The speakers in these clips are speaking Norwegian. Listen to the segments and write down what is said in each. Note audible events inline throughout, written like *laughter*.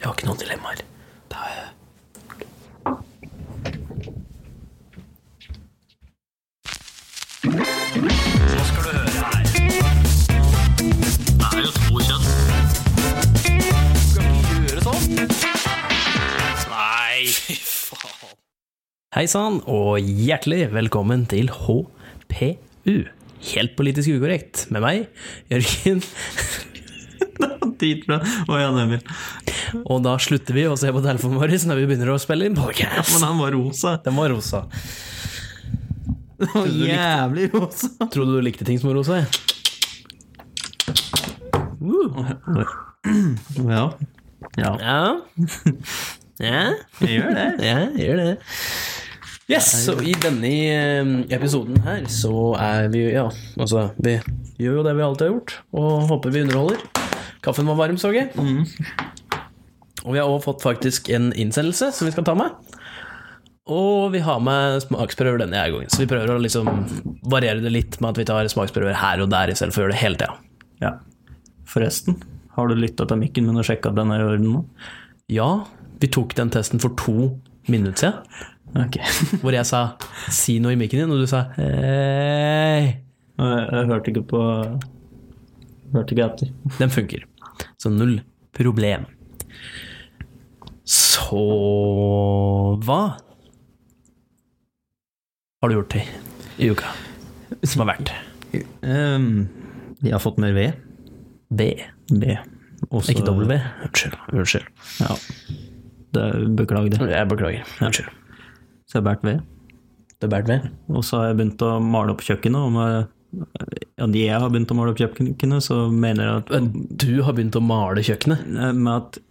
Jeg har ikke noen dilemmaer. Det er Nei, *laughs* fy faen. Hei sann, og hjertelig velkommen til HPU. Helt politisk ukorrekt med meg, Jørgen. Dritbra. Og Jan Emil. Og da slutter vi å se på telefonen vår når vi begynner å spille inn podcast. Men han var rosa. Den var rosa. *laughs* Det var Jævlig rosa. Tror du du likte ting som var rosa? jeg? Ja. ja. Ja. Ja, Jeg gjør det. ja gjør det. Yes, så i denne eh, episoden her så er vi Ja, altså, vi gjør jo det vi alltid har gjort, og håper vi underholder. Kaffen var varm, så jeg. Og vi har også fått faktisk en innsendelse som vi skal ta med. Og vi har med smaksprøver denne gangen, så vi prøver å liksom variere det litt med at vi tar smaksprøver her og der istedenfor å gjøre det hele tida. Ja. Forresten, har du lytta til mikken min og sjekka at den er i orden nå? Ja, vi tok den testen for to minutter siden. Ok. *laughs* Hvor jeg sa 'si noe i mikken din', og du sa 'hei'. Jeg, jeg hørte ikke på Hørte ikke etter. Den funker. Så null problem. Så hva har du gjort i, i uka som har vært? Um, jeg har fått mer ved. B. B. Også, Ikke W. Unnskyld. Unnskyld. Ja. Det, beklager det. Jeg beklager. Unnskyld. Så jeg har båret ved. Det bært ved. Og så har jeg begynt å male opp kjøkkenet. Og med, ja, de jeg har begynt å male opp kjøkkenet, så mener jeg at Du har begynt å male kjøkkenet. med at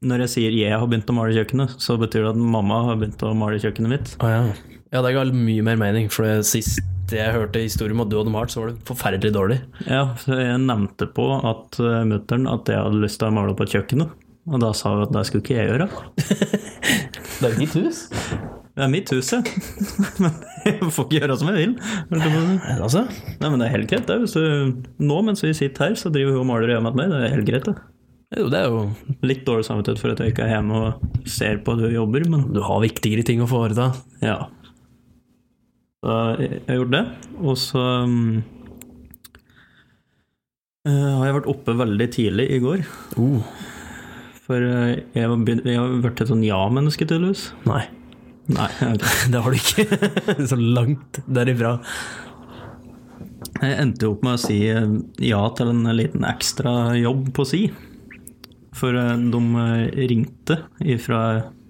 når jeg sier 'jeg har begynt å male kjøkkenet', så betyr det at mamma har begynt å male kjøkkenet mitt. Å ja. Ja, det ga mye mer mening, for det sist jeg hørte historien om at du hadde malt, så var det forferdelig dårlig. Ja, så jeg nevnte på at eh, mutter'n at jeg hadde lyst til å male opp et kjøkkenet. Og da sa hun at det skulle ikke jeg gjøre. Det er jo ditt hus. Det er mitt hus, ja. *laughs* Men jeg får ikke gjøre som jeg vil. holdt jeg på å si. Altså? Nei, men det er helt greit, det. Hvis du, nå mens vi sitter her, så driver hun og maler hjemme hos meg. Det er helt greit, det. Jo, det er jo Litt dårlig samvittighet for at jeg ikke er hjemme og ser på at hun jobber, men Du har viktigere ting å foreta. Ja. Så jeg har gjort det. Og så um, eh, har jeg vært oppe veldig tidlig i går. Uh, For eh, jeg har begynt- jeg har blitt et sånn ja-menneske, tydeligvis. nei, *laughs* Nei, ok. det har du ikke. *laughs* Så langt derifra. jeg endte jo opp med å si eh, ja til en liten ekstra jobb på si. For eh, de eh, ringte ifra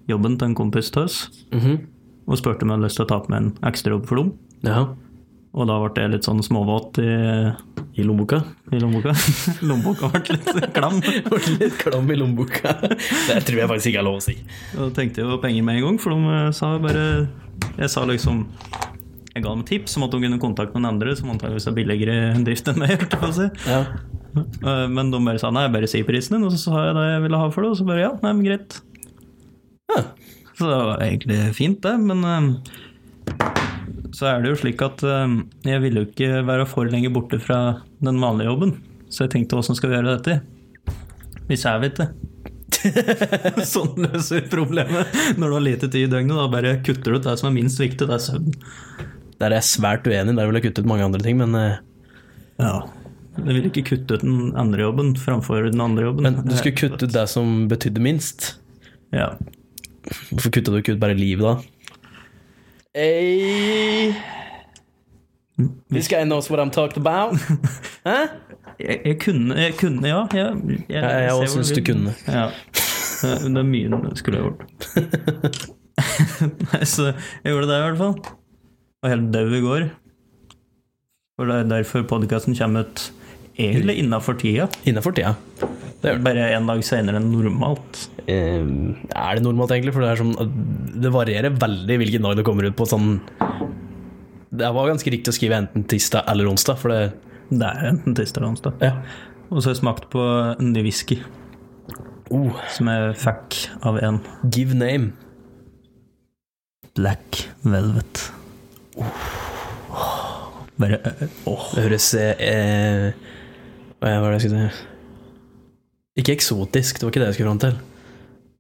jobben til en kompis til oss Mhm. og spurte om jeg hadde lyst til å ta på meg en ekstra jobb for dem. Ja. Og da ble jeg litt sånn småvåt i I lommeboka. *laughs* I lommeboka. *laughs* lommeboka ble litt klam. Litt klam i lommeboka. *laughs* Det tror jeg faktisk ikke er lov å si. Og da tenkte jeg på penger med en gang, for de eh, sa bare Jeg sa liksom Jeg ga dem tips om at de kunne kontakte noen andre som antakeligvis er billigere drift enn meg. holdt jeg på å si. Ja. Eh, Men de bare sa nei, bare si prisen din, og så sa jeg det jeg ville ha for det, og så bare ja, nei, men greit. Ja. Så det var egentlig fint, det, men eh, så er det jo slik at eh, jeg ville jo ikke være for lenge borte fra den vanlige jobben. Så jeg tenkte åssen skal vi gjøre dette? Hvis jeg *laughs* vet det. *laughs* sånn løser vi problemet. Når du har lite tid i døgnet, da bare kutter du ut det som er minst viktig, det er søvn. Der er jeg svært uenig. Der ville jeg kuttet mange andre ting, men, eh, Ja. Jeg vil ikke kutte ut den andre jobben framfor den andre jobben. men du skulle kutte ut det som betydde minst. Ja. Hvorfor kutta du ikke ut bare livet, da? Hey. This guy knows what I'm talking *laughs* about. Hæ? Jeg, jeg kunne, jeg kunne, ja. Jeg, jeg, jeg ser også hvor synes vil. du kunne. Ja. Eh, Men det er mye jeg skulle ha *laughs* gjort. Nei, så jeg gjorde det i hvert fall. Var helt dau i går. For det er derfor podkasten kommer ut egentlig innafor tida. Innafor tida. Det Mm. gjør det. Bare en dag seinere enn normalt. Eh, er det normalt, egentlig? For det, er sånn, det varierer veldig hvilken dag det kommer ut på. Sånn, det var ganske riktig å skrive enten tirsdag eller onsdag, for det Det er enten tirsdag eller onsdag. ja. Og så har jeg smakt på en ny whisky oh, som jeg fikk av en Give name. Black Velvet. Bare eh, åh. Det høres eh, Hva var det jeg skulle si? Ikke eksotisk, det var ikke det jeg skulle fram til.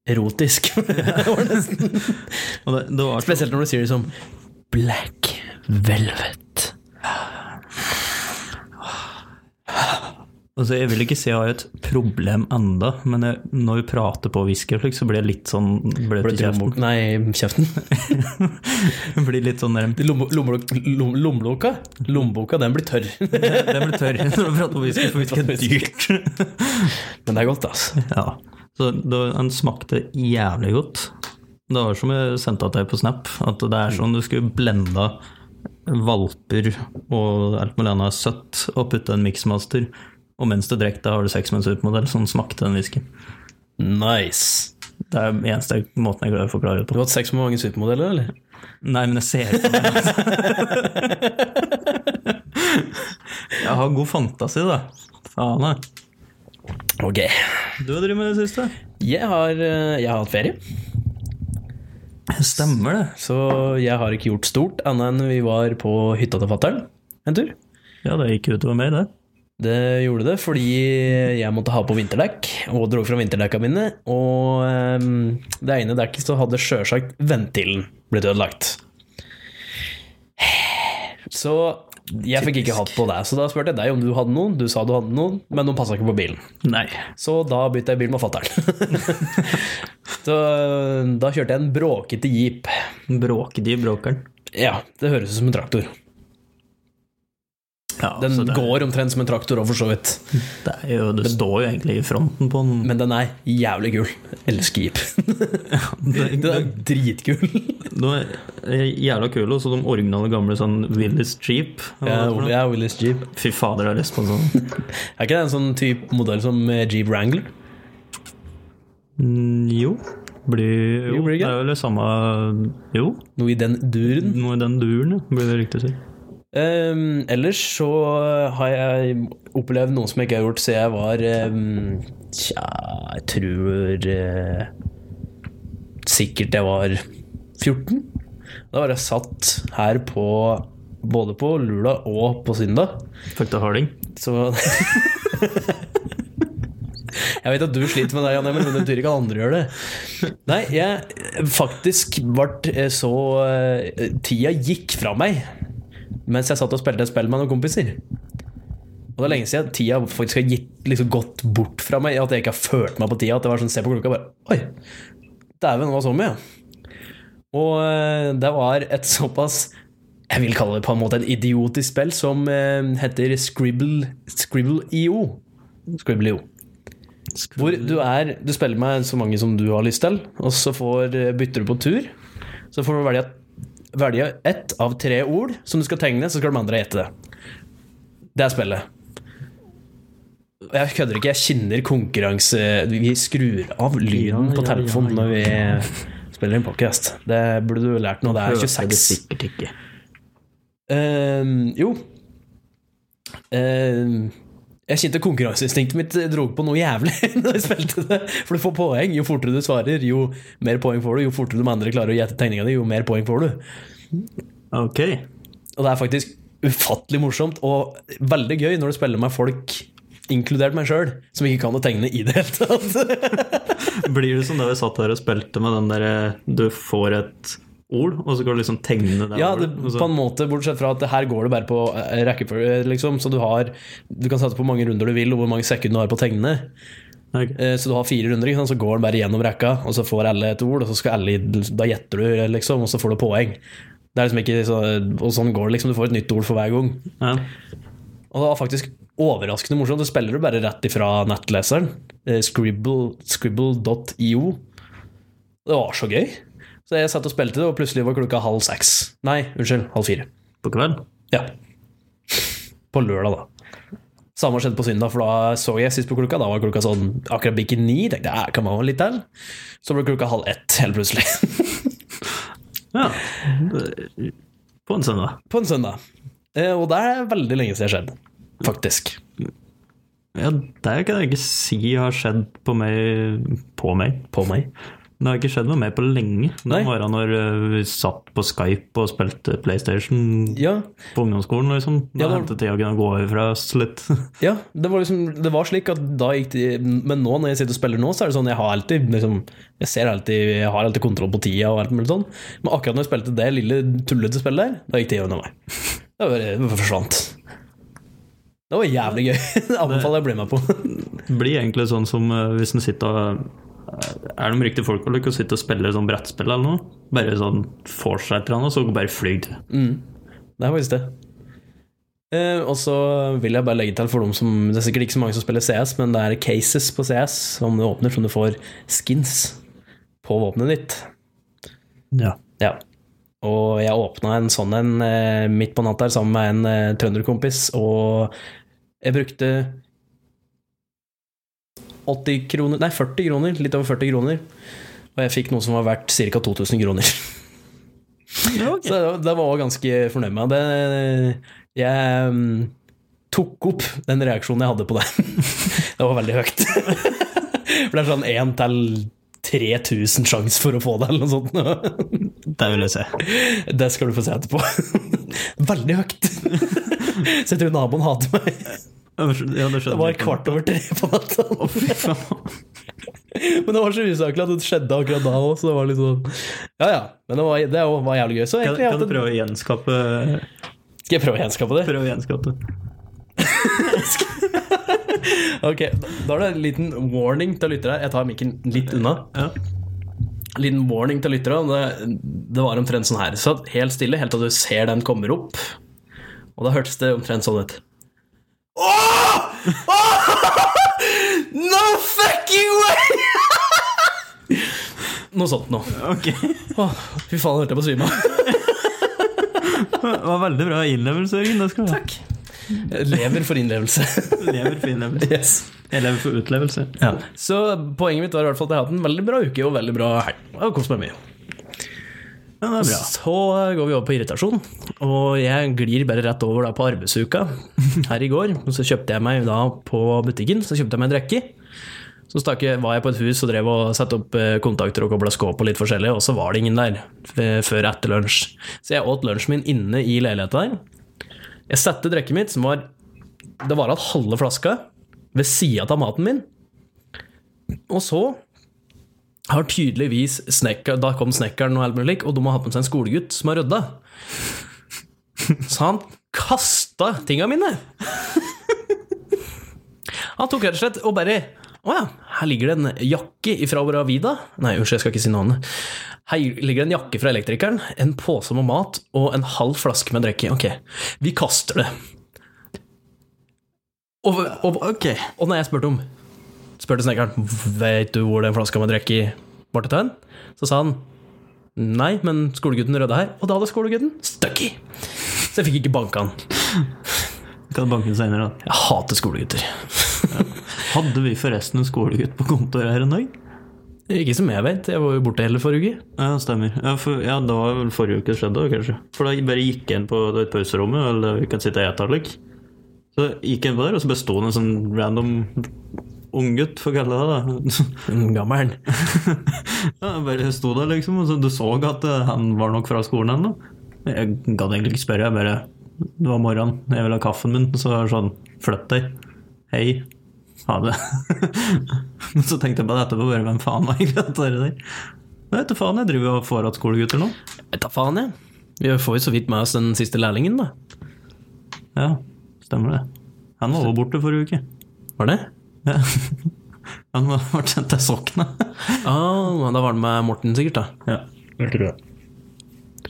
erotisk. *laughs* det var nesten Og det, det var Spesielt når du sier det som Black Velvet. Altså, jeg vil ikke si jeg har et problem enda, men jeg, når vi prater på whisky, og slik, så blir jeg litt sånn bløt i kjeften. Nei, kjeften. *laughs* Jeg *laughs* Blir litt sånn der, Lomme- lommelo- lom- Lommeboka, lommeboka, den blir tørr. *laughs* Den blir tørr når vi prater på whisky, for whisky er dyrt. Men det er godt, altså. *laughs* Ja. Så det, den smakte jævlig godt. Det var som jeg sendte til deg på Snap, at det er som om du skulle blenda valper og alt mulig annet søtt og putte en miksmaster, og mens du drikker det, har du seks minutter på modell. Sånn smakte den whiskyen. Nice. Det er den eneste måten jeg klarer å forklare det på. Du har hatt sex med mange supermodeller, eller? Nei, men jeg ser på altså. det. *laughs* jeg har god fantasi, da. Faen, da. Ok. Du har drevet med det siste? Jeg har, eh, jeg har hatt ferie. Stemmer det. Så jeg har ikke gjort stort, annet enn vi var på hytta til fattern en tur. Ja, det gikk utover meg, det. Det gjorde det fordi jeg måtte ha på vinterdekk, og dro fra vinterdekka mine. Og ehm, det ene dekket så hadde sjølsagt ventilen blitt ødelagt. Så jeg fikk ikke hatt på det, så da spurte jeg deg om du hadde noen. Du sa du hadde noen, men de passa ikke på bilen. Nei. Så da bytta jeg bil med fatter'n. *laughs* så eh, da kjørte jeg en bråkete jeep. Bråker de bråkeren? Ja, det høres ut som en traktor. Ja, Den altså, det, går omtrent som en traktor òg, for så vidt. det, er jo, det står jo egentlig i fronten på den. Men den er jævlig kul. Elsker jeep. *laughs* *laughs* Det, Den er dritkul. de er jævla kule, og så de originale gamle sånn Willis Jeep. Ja, Hva var det for noe? ja, Willis Jeep. Fy fader, jeg har lyst på en sånn. Er ikke det en sånn type modell som eh, Jeep Wrangler? Mm, Jo. Blir, jo, Jo, blir det det ikke? er vel det samme Jo, Noe i den duren. noe i den duren, ja, blir det riktig å si. Ehm, ellers så har jeg opplevd noe som jeg ikke har gjort siden jeg var ehm, Tja, jeg tror eh, Sikkert jeg var 14. Da var jeg satt her på både på lula og på søndag. Fuck the harding. Så Jeg *laughs* vet at du sliter med det, Janne, men det betyr ikke at andre gjør det. Nei, jeg faktisk ble så eh, Tida gikk fra meg mens jeg satt og spilte et spill med noen kompiser. Og det er lenge siden tida faktisk har gitt liksom gått bort fra meg. At jeg ikke har følt meg på tida. At det var sånn, se på klokka bare Oi! Dæven, det var så mye, ja. Og eh, det var et såpass jeg vil kalle det på en måte en idiotisk spill som eh, heter Scribble Scribble.io. Scribble.io. Hvor du er Du spiller med så mange som du har lyst til, og så får, eh, bytter du på tur. Så får du velge, velge ett av tre ord som du skal tegne, så skal de andre gjette det. Det er spillet. Og Jeg kødder ikke, jeg kjenner konkurranse Vi skrur av lyden Ja, på ja, ja, telefonen ja. når vi spiller en podcast. Det burde du lært nå. Det er 26. sikkert ikke. Ehm, jo. Ehm, jeg kjente konkurranseinstinktet mitt dro på noe jævlig *laughs* når jeg spilte det. For du får poeng. Jo fortere du svarer, jo mer poeng får du. Jo fortere de andre klarer å gjette tegninga di, jo mer poeng får du. Ok. Og det er faktisk ufattelig morsomt og veldig gøy når du spiller med folk, inkludert meg sjøl, som ikke kan å tegne i det hele tatt. *laughs* Blir det som da vi satt her og spilte med den derre du får et ord, og så kan du liksom tegne det Ja, ordet, det, og så- på en måte, bortsett fra at det her går det bare på eh, rekkefølge, liksom. Så du har Du kan sette på hvor mange runder du vil, og hvor mange sekunder du har på å tegne. Ok. Eh, Så du har fire runder, ikke sant? så går den bare gjennom rekka, og så får alle et ord, og så skal alle, da gjetter du, liksom, og så får du poeng. Det er liksom ikke så, Og sånn går det, liksom. Du får et nytt ord for hver gang. Ja. Og det var faktisk overraskende morsomt. Du spiller du bare rett ifra nettleseren. eh, Scribble- Scribble.io. Det var så gøy. Så jeg satt og spilte det, og plutselig var klokka halv seks. Nei, unnskyld, halv fire. På kveld? Ja. På lørdag, da. Samme skjedde på søndag, for da så jeg sist på klokka. Da var klokka sånn akkurat bikke ni. Tenkte jeg, "Æ, kan man ha litt til? Så ble klokka halv ett, helt plutselig. *laughs* Ja. På en søndag. på en søndag. Eh, Og det er veldig lenge siden det skjedde, faktisk. Ja, det kan jeg ikke si har skjedd på meg På meg. På meg. Det har ikke skjedd noe mer på lenge. Det Nei. var da når eh, vi satt på Skype og spilte PlayStation Ja, på ungdomsskolen, liksom. Ja, det Da var- hentet tida å kunne gå over fra oss litt. *laughs* ja det, var liksom, det var slik at da gikk det Men nå når jeg sitter og spiller nå, så er det sånn jeg har alltid liksom, Jeg ser alltid Jeg har alltid kontroll på tida og alt mulig sånn. Men akkurat når jeg spilte det lille tullete spillet der, da gikk tida under meg. Det bare, det bare forsvant. Det var jævlig gøy. *laughs* Det anbefaler jeg å bli med på. Det blir egentlig sånn som eh, hvis en sitter og Er de riktige folk å like å sitte og spille sånn brettspill eller noe? Bare sånn får seg et eller annet, og så bare flyr det. Det er faktisk det. Eh, og så vil jeg bare legge til for dem som Det er sikkert ikke så mange som spiller CS, men det er cases på CS som du åpner, som du får skins på våpenet ditt. Ja. Ja. Og jeg åpna en sånn en eh, midt på natta her sammen med en eh, trønderkompis, og jeg brukte 80 kroner Nei, 40 kroner. Litt over 40 kroner. Og jeg fikk noe som var verdt ca. 2000 kroner. *laughs* Så det, det var jeg ganske fornøyd med. Det, jeg mm, tok opp den reaksjonen jeg hadde på det. *laughs* det var veldig høyt. *laughs* For det er sånn 1 til 3000 sjanse for å få det, eller noe sånt. Det vil jeg se. Det skal du få se etterpå. *laughs* Veldig høyt. *laughs* Så jeg tror naboen hater meg. Ja, det Det skjønner var jeg. *laughs* kvart over tre på natta. Fy faen. Men det var så usaklig at det skjedde akkurat da òg, så det var litt sånn Ja ja. Men det var, det var jævlig gøy. Så Kan, egentlig, kan du jeg prøve å gjenskape hadde- skal jeg prøve å gjenskape det? Prøve å gjenskape det? Ok, Da er det en liten warning til lyttere. Jeg tar mikken litt unna. Ja. En liten warning til lyttere. Det, det var omtrent sånn her. Satt helt stille helt til du ser den kommer opp. Og da hørtes det omtrent sånn ut. No fucking way! Noe sånt noe. Ok. *laughs* Åh, Fy faen, hørte jeg på å svime av. Det var veldig bra innlevelse, Jørgen. Det skal du ha. Jeg Lever for innlevelse. Lever for innlevelse. Yes. Jeg lever for utlevelse. Så poenget mitt var i hvert fall at jeg har hatt en veldig bra uke og veldig bra helg. Og kost meg mye. Ja, det er bra. Så går vi over på irritasjon, og jeg glir bare rett over da på arbeidsuka her i går. Og så kjøpte jeg meg da på butikken, så kjøpte jeg meg en drikke. Så stakk jeg, var jeg på et hus og drev og satte opp eh, kontakter og kobla skåp og litt forskjellig, og så var det ingen der f- før etter lunsj. Så jeg åt lunsjen min inne i leiligheta der. Jeg satte drikket mitt, som var Det var igjen halve flaska, ved sida av maten min. Og så har tydeligvis snekker, Da kom snekkeren og alt mulig, og de har hatt med seg en skolegutt som har rydda. Så han kasta tinga mine. Han tok rett og slett og bare Å ja, her ligger det en jakke fra Bravida. Nei, unnskyld, jeg skal ikke si navnet. Her ligger det en jakke fra elektrikeren, en pose med mat og en halv flaske med drikke. Ok, vi kaster det. Og, og, Ok. og når jeg spurte om Spurte snekkeren Vet du hvor den flaska med drekk i var til tønn? Så sa han Nei, men skolegutten rødde her Og da hadde skolegutten Stucky Så jeg fikk ikke banka han Kan banke senere, da. Jeg hater skolegutter *laughs* Hadde vi forresten en skolegutt på kontoret her en dag? Ikke som jeg vet Jeg var jo borte hele forrige uke Ja, det stemmer. Ja, for, ja, det var vel forrige uke det skjedde, da, kanskje. For da bare gikk jeg inn på det pauserommet, eller vi kan sitte og ete litt. Så gikk jeg inn på der, og så besto det en sånn random unggutt, for å kalle det det. da. Gammelen *laughs* Ja, jeg bare sto der, liksom, og så du så at eh, han var nok fra skolen ennå. Jeg gadd egentlig ikke spørre, jeg bare Det var morgenen, jeg ville ha kaffen min, så var det sånn Flytt deg. Hei. Ha det. *laughs* Men så tenkte jeg på det etterpå, bare hvem faen var egentlig dette der? Jeg vet du faen, jeg driver og får igjen skolegutter nå. Vet da faen jeg Vi får jo så vidt med oss den siste lærlingen da Ja, stemmer det. Han var også borte forrige uke. Var det? Ja. *laughs* Han var- ble sendt til Sokna. Ah, da var det med Morten sikkert da *laughs* Ja, jeg tror det.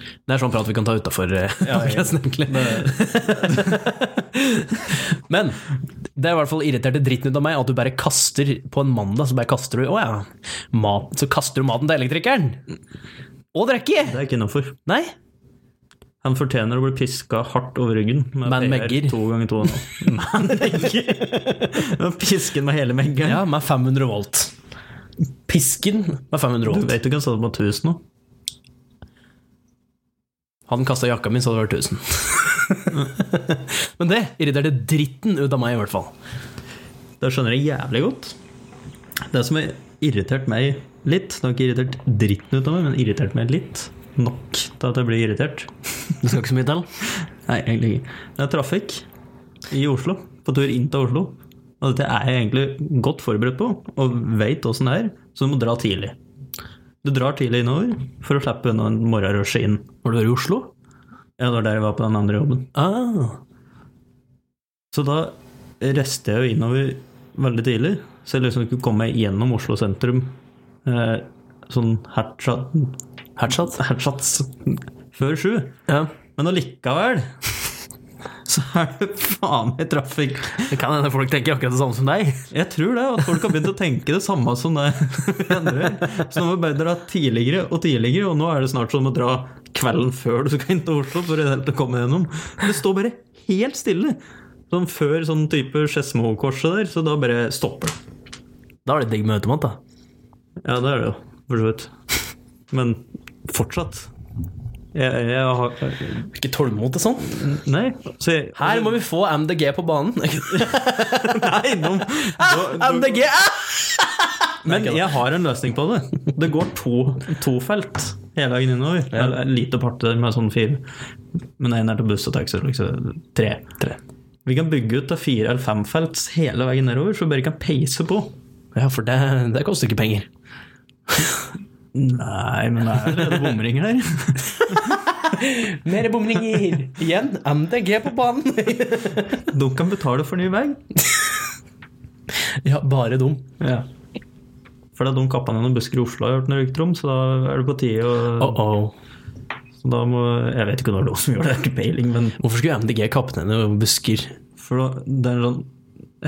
Det er sånn prat vi kan ta utafor *laughs* Ja, ja. podkasten, egentlig. Men det er i hvert fall irriterte dritten ut av meg at du bare kaster på en mandag så bare kaster du, å ja, mat, så kaster du maten til elektrikeren. Og drikke! Det er ikke innafor. Nei. Han fortjener å bli piska hardt over ryggen med Men PR megger. to ganger *laughs* to. Man *laughs* megger! Pisken med hele meggeren. Ja, med 500 volt. Pisken med 500 Du volt. vet du kan sette på 1000 nå. Hadde han kasta jakka mi, så hadde det vært 1000. *laughs* Men det irriterte dritten ut av meg, i hvert fall. Det skjønner jeg jævlig godt. Det som er irritert meg litt. Det har ikke irritert dritten ut av meg, men irritert meg litt. Nok til at jeg blir irritert. Det skal ikke så mye til. Nei, egentlig ikke. Det er trafikk i Oslo. På tur inn til Oslo. Og dette er jeg egentlig godt forberedt på, og veit åssen det er, så du må dra tidlig. Du drar tidlig innover for å slippe unna morgenrushet inn. Har du vært i Oslo? Ja, det var der jeg var på den andre jobben. Ah, Så da reiste jeg jo innover veldig tidlig, så jeg liksom kunne komme meg gjennom Oslo sentrum. Eh, sånn hertsatt Hertsatt? Hertsats før sju. Ja. Men allikevel *laughs* så er det faen meg trafikk. Det kan hende folk tenker akkurat det samme som deg. Jeg tror det, at folk har begynt å tenke det samme som *laughs* det vi andre gjør. Så nå må vi bare dra tidligere og tidligere, og nå er det snart som å dra kvelden før du skal inn til Oslo for i det hele tatt å komme gjennom. Det står bare helt stille. Sånn før sånn type Skedsmokorset der, så da bare stopper det. Da er det digg med automat, da. Ja, det er det jo, for så vidt. Men fortsatt. Jeg, jeg har Ikke tålmod til sånn. Nei. Så jeg, Her må vi få MDG på banen. *laughs* Nei, *laughs* nå, nå, nå, MDG! ah! Men jeg har en løsning på det. Det går to, to felt hele veien innover. Eller En lite parte med sånn fire. Men én er til buss og taxi. Liksom. Tre. Tre. Vi kan bygge ut til fire eller fem felts hele veien nedover, så vi bare kan peise på. Ja, for det, det koster ikke penger. Nei, men det er allerede bomringer der. Mer bomringer! Igjen, MDG på banen! *laughs* De kan betale for ny vei. *laughs* ja, bare dum. Ja. For det er de kappa ned noen busker i Oslo har gjort noe rykter om, så da er det på tide å Oh-oh. så da må, Jeg vet ikke når det var som gjorde det, jeg har ikke peiling, men Hvorfor skulle MDG kappe ned noen busker? For da- det er en sånn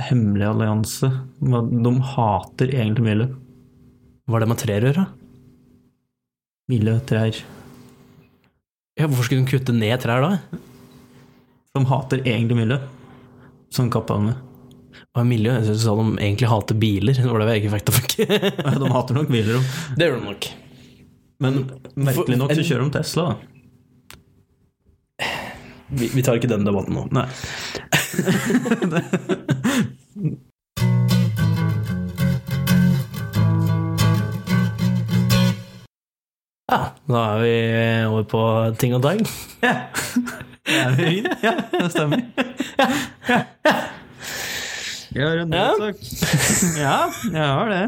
hemmelig allianse. med- De hater egentlig miljø. Var det med trerør, da? Miljø, trær. Ja, hvorfor skulle de kutte ned trær da? De hater egentlig miljø. Sånn *laughs* kappene. Og miljø, jeg synes du sa de egentlig hater biler. Det var det vi ikke fikk tak i. De hater nok biler òg. *laughs* Det gjør de nok. Men merkelig nok så kjører de Tesla, da. Vi, vi tar ikke den debatten nå. Nei. Ja, da er vi over på ting og tang. Ja. Er vi i? *laughs* ja, det stemmer. Jeg har en nyhetssak. *laughs* Ja, jeg har det.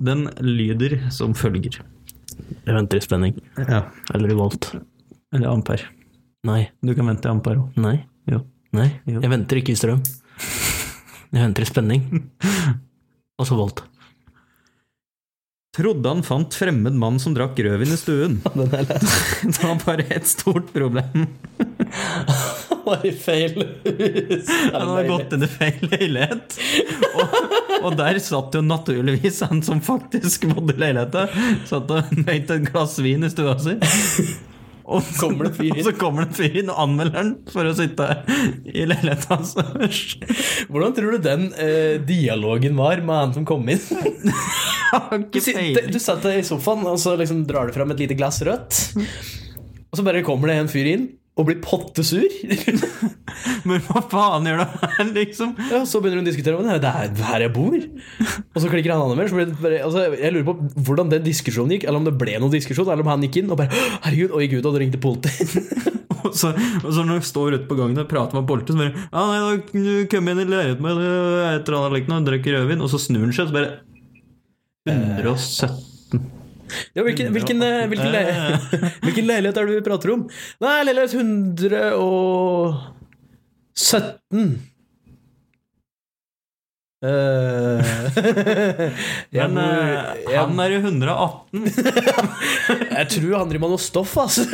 Den lyder som følger. Jeg venter i spenning. Ja. Eller i volt. Eller ampere. Nei. Du kan vente i ampere òg. Nei. Jo. Nei. Jo. Jeg venter ikke i strøm. Jeg venter i spenning. Og så volt. Trodde han fant fremmed mann som drakk rødvin i stuen. *laughs* *laughs* Det var bare et stort problem. Var i feil *laughs* hus. Han hadde gått inn i feil leilighet. Og, og der satt jo naturligvis han som faktisk bodde i leiligheta. Satt og nøyt et glass vin i stua si. Og så Kommer det en fyr inn. og så kommer det en fyr inn og anmelder han for å sitte i leiligheta hans. Hvordan tror du den eh, dialogen var med han som kom *laughs* inn? Du, sitter- du satt i sofaen, og så liksom drar du fram et lite glass rødt. Og så bare kommer det en fyr inn og blir *laughs* pottesur. Men hva faen gjør du her, liksom? Ja, og så begynner hun å diskutere om det er- det er her jeg bor. Og så klikker han andre mer. Så blir det bare, altså, jeg lurer på hvordan den diskusjonen gikk, eller om det ble noen diskusjon, eller om han gikk inn og bare Herregud, oi gud, og det ringte politiet. Og så, og så når du står ute på gangen og prater med politiet, så bare Ja, nei, da kan du komme inn i leiligheten min, et eller annet likt noe, drikke rødvin, og så snur han seg, og så bare 117 *laughs* Ja, hvilken, hvilken, eh, hvilken, le *laughs* hvilken leilighet er det vi prater om? Nei, leilighet 117. Eh, *laughs* jeg, Men bor- eh, jeg, han er i 118. jeg tror han driver med noe stoff, altså.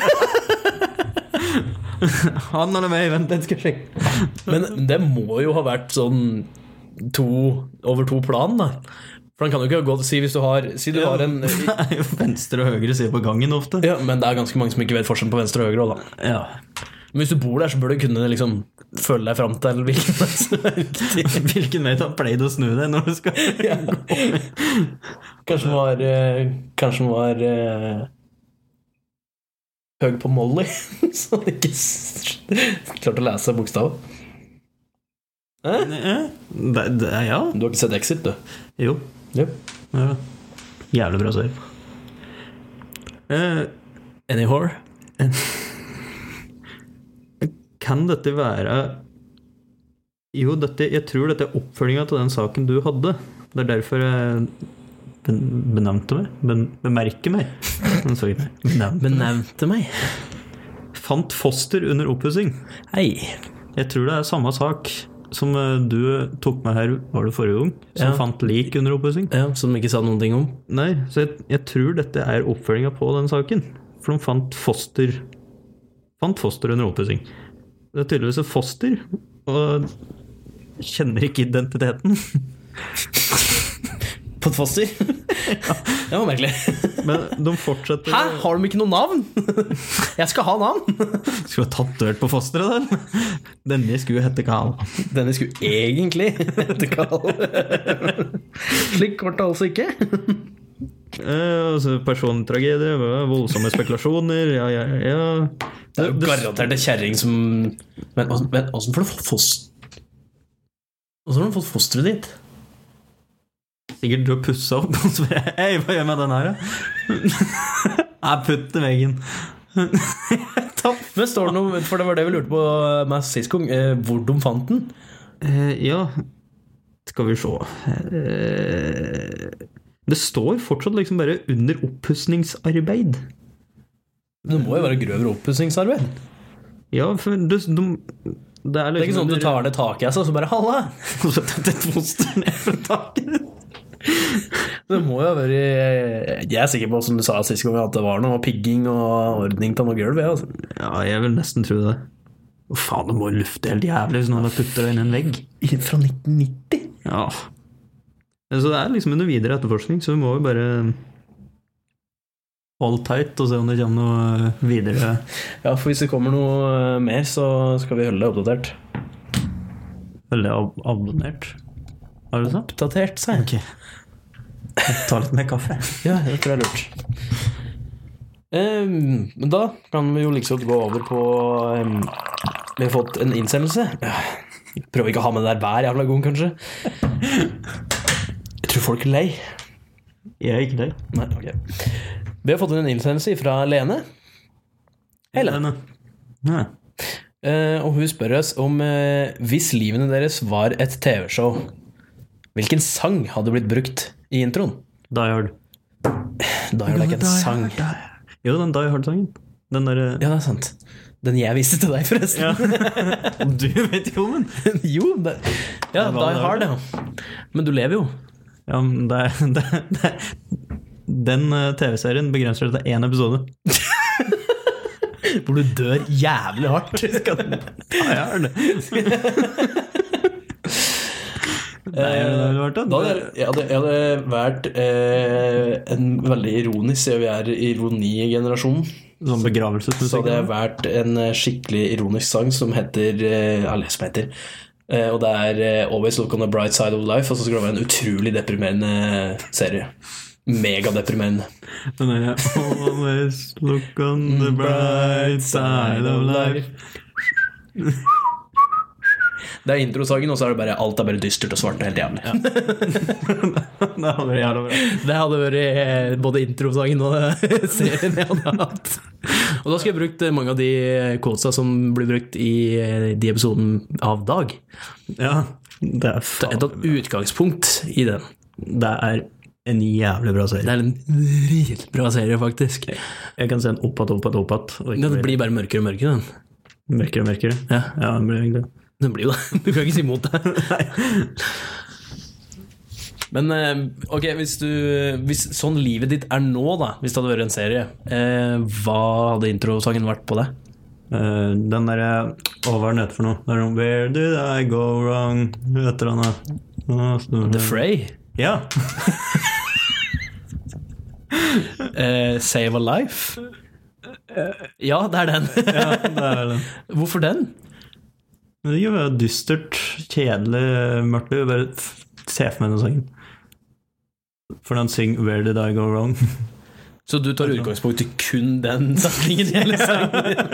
Han eller meg, vent, jeg skal sjekke. Men det må jo ha vært sånn to, over to plan, da. For han kan jo ikke gå si hvis du har Si du har en *laughs* Det er jo venstre og høyre side på gangen ofte. ja, Men det er ganske mange som ikke vet forskjellen på venstre og høyre. også, Da. Ja. *laughs* Men hvis du bor der, så bør du kunne liksom føle deg fram til hvilken vei som er riktig. Hvilken vei han pleide å snu deg når du skal *laughs* Ja. *laughs* Kanskje den var eh, Kanskje den var eh, høy på *laughs* Molly, så han ikke s- klarte å lese bokstaven. Eh? Det, det, ja. Du har ikke sett Exit, du? Jo. Ja. Jævlig bra serie. Eh, Any whore? kan dette være Jo, dette, jeg tror dette er oppfølginga til den saken du hadde. Det er derfor jeg ben- benevnte meg. Ben, bemerker meg. Den saken her. Benevnt. Benevnte meg. Fant foster under oppussing. Hei. Jeg tror det er samme sak som eh, du tok med her var det forrige gang. Som Ja. fant lik under oppussing. Ja, som de ikke sa noen ting om. Nei, så jeg, jeg tror dette er oppfølginga på den saken. For de fant foster Fant foster under oppussing. Det er tydeligvis et foster, og kjenner ikke identiteten. *laughs* På et *laughs* foster? det var merkelig. Men de fortsetter Hæ, har de ikke noe navn? *laughs* Jeg skal ha *laughs* navn! Skulle ha tatovert på fosteret der. *laughs* Denne skulle hete Kal. Denne skulle egentlig hete Carl. *laughs* Slik ble det altså ikke. Eh, altså persontragedie, voldsomme spekulasjoner, ja, ja, ja. Det er jo garantert en kjerring som Men åssen- men åssen får du fått foster Åssen har du fått fosteret ditt? Sikkert du har pussa opp og spør jeg, *laughs* Hei, hva gjør jeg med den her, da? *laughs* Nei, putt den i veggen. Topp. Men står det noe, for det var det vi lurte på med sist gang, eh, hvor de fant den? Eh, ja, skal vi se eh, Det står fortsatt liksom bare 'under oppussingsarbeid'. Det må jo være grøvere oppussingsarbeid. Det Ja, for du, du Det er er liksom ikke sånn at du tar ned taket og så bare 'halla'. *laughs* og setter et foster ned fra taket. Det må jo ha vært eh, Jeg er sikker på, som du sa sist gang, at det var noe pigging og ordning av noe gulv. Ja, altså. Ja, jeg vil nesten tro det. Å faen, det må jo lufte helt jævlig hvis noen har putta det inn i en vegg. Fra 1990? Ja. Så det er liksom under videre etterforskning, så vi må jo bare Hold tight og se om det kommer noe eh, videre. Ja, for hvis det kommer noe eh, mer, så skal vi holde deg oppdatert. Veldig ab abonnert. Har du sagt? Oppdatert, sa jeg. Ta litt mer kaffe. Ja, det tror jeg er lurt. Em, men da kan vi jo liksom gå over på em, Vi har fått en innsendelse. Prøver ikke å ha med det der hver jævla gang, kanskje. Jeg tror folk er lei. Jeg er ikke det. Nei, ok. Vi har fått en innsendelse fra Lene. Hei, Lene. Helene. Nei. Eh, og hun spør oss om eh, hvis livene deres var et TV-show, hvilken sang hadde blitt brukt i introen? Die Hard. Da er det ikke en sang. Jo, den Die Hard-sangen. Den derre Ja, det er sant. Den jeg viste til deg, forresten. *laughs* Du vet jo om den! *laughs* jo, det, ja, Det var Die det. Hard, ja. Men du lever jo. Ja, men det er, *laughs* det, er- det er Den eh, TV-serien begrenser seg til én episode. Hvor du dør jævlig *laughs* hardt. Die Hard! Nei, men *laughs* det hadde vært det. Da hadde jeg, jeg, hadde, jeg hadde vært eh, en veldig ironisk, siden vi er ironigenerasjonen. Sånn Så begravelsesmusikk. hadde jeg valgt en eh, skikkelig ironisk sang som heter eh, Eller som heter eh, Og det er eh, Always Look on the Bright Side of Life, og så skal det være en utrolig deprimerende serie. Megadeprimerende. Men jeg always look on the bright side of life. *laughs* Det er introsangen, og så er det bare alt er bare dystert og svart og helt jævlig. Det hadde vært jævla bra. Det hadde vært eh, både introsangen og *laughs* serien jeg hadde hatt. Og da skulle jeg brukt eh, mange av de quotesa som blir brukt i eh, de episoden av Dag. Ja, det er Det er faen et utgangspunkt i den. Det er en jævlig bra Det serie. er en dritbra serie, faktisk. Jeg kan se den opp igjen, opp igjen, opp igjen. Og Den ikke bli blir bare mørkere og mørkere, den. mørkere og mørkere. Ja. Ja, den blir egentlig det. Den blir jo det. *laughs* Du kan ikke si imot det. Men eh, ok, hvis du hvis, Sånn livet ditt er nå, da, hvis det hadde vært en serie, eh, hva hadde introsangen vært på det? Eh, den derre Å, hva er den heter for noe? Det er noe Where did I go wrong? Et eller annet. Å, snor- The Fray? Ja. Eh, save a Life? Ja, det er den. ja, det er den. *laughs* Hvorfor den? Men Det er jo dystert, kjedelig, mørkt. Det er jo Bare f- se for meg den sangen. For den synger 'Where Did I Go *laughs* Wrong'. Så du tar utgangspunkt i kun den *laughs* setningen? i hele sangen?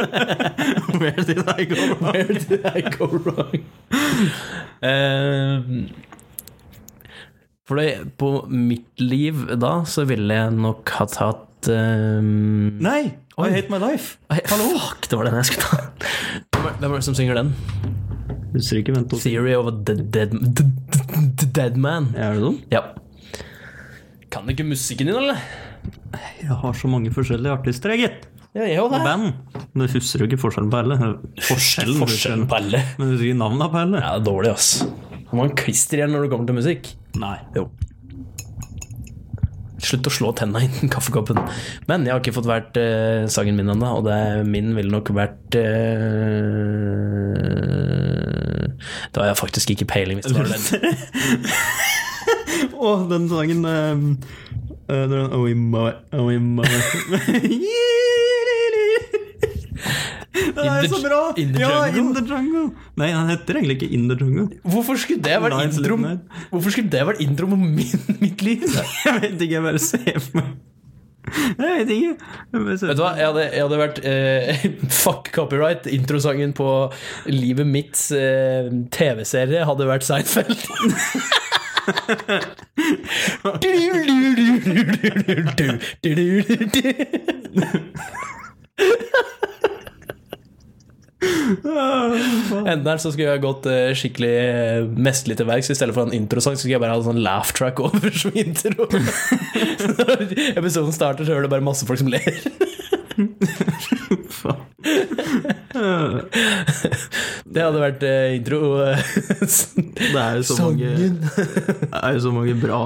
Where did I go *laughs* Where did I go wrong? Eh, for det, på mitt liv da, så ville jeg nok ha tatt eh, Nei! I hate my life. nei, Fuck, det var den jeg skulle ta. Hvem er, hvem er det som synger den? Husker ikke, vent opp. Theory of a dead, dead, dead, dead- dead man. Er det sånn? Ja. Kan du ikke musikken din, eller? Jeg har så mange forskjellige artister, jeg, gitt. Ja, jeg òg, Og band. Men du husker jo ikke forskjellen på alle. Forskjellen, Forskjellen på alle. Men du husker ikke navnet på alle? Ja, det er dårlig, ass. Han var en klisterhjerne når det kommer til musikk. Nei. Jo. Slutt å slå tenna i kaffekoppen. Men jeg har ikke fått vært eh, sangen min ennå, og det er- min ville nok vært eh, Da har jeg faktisk ikke peiling, hvis det var den. Og den sangen um, uh, den, oh, my, oh, *laughs* my. Den In er jo the- så bra! in the ja, jungle. In the Jungle. Nei, han heter egentlig ikke In the Jungle. Hvorfor skulle det vært Lines intro litt Hvorfor skulle det vært intro på min, mitt liv? Vet *laughs* Jeg vet ikke, jeg bare ser for meg Jeg vet ikke. Jeg bare ser. du hva, jeg hadde, jeg hadde vært eh, *laughs* Fuck copyright. Introsangen på livet mitts eh, TV-serie hadde vært Seinfeld. Enten her så skulle jeg gått eh, skikkelig eh, mesterlig til verks. I stedet for en introsang så skulle jeg bare ha en sånn laugh track over som intro. *laughs* Så Når episoden starter, så hører du bare masse folk som ler. Faen. Det hadde vært eh, *laughs* intro. eh, Det er jo så mange Sangen. Det er jo så mange bra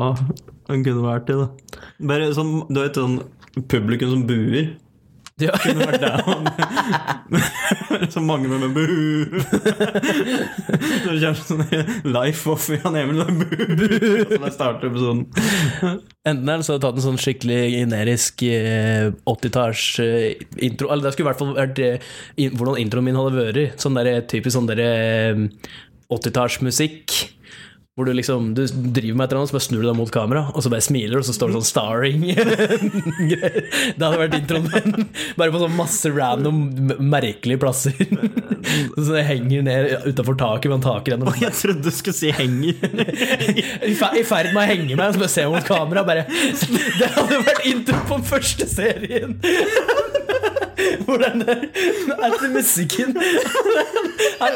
han kunne vært i, da. Bare sånn, du vet sånn publikum som buer. *laughs* Ja. Kunne vært der han *laughs* Så mange med, med *laughs* bu. Så det kommer sånn life off i han Emil. da, Bu. Og Så da starter episoden. Enten eller så hadde jeg tatt en sånn skikkelig generisk eh, 80-talls eh, intro Eller det skulle i hvert fall vært eh, in, hvordan introen min hadde vært. Sånn der, typisk sånn der eh, 80-tallsmusikk. Hvor du liksom du driver med et eller annet, så bare snur du deg mot kamera, og så bare smiler, og så står det sånn starring. *laughs* Greier. det hadde vært introen min. Bare på sånn masse random, m- merkelige plasser. *laughs* så det henger ned utafor taket med en takrenn. *laughs* Jeg trodde du skulle si *laughs* 'henger'. I fer- i ferd med å henge meg, så bare ser jeg mot kamera bare Det hadde vært intro på den første serien! Hvor den der etter musikken I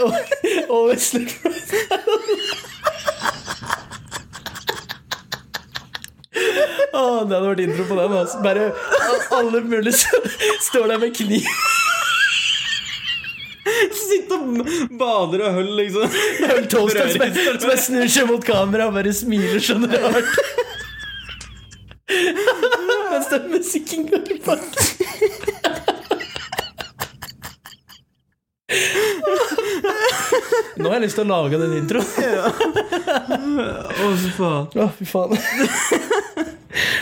always look for Å, det hadde vært intro på den. Altså. Bare alle mulige s- står der med kniv. Sitte og bader og høll, liksom. Høl toasteren som bare- som bare snur seg mot kamera og bare smiler sånn rart. *laughs* Mens den musikken går i bakken. Nå har jeg lyst til å lage den introen. Å, fy faen. Å, fy faen.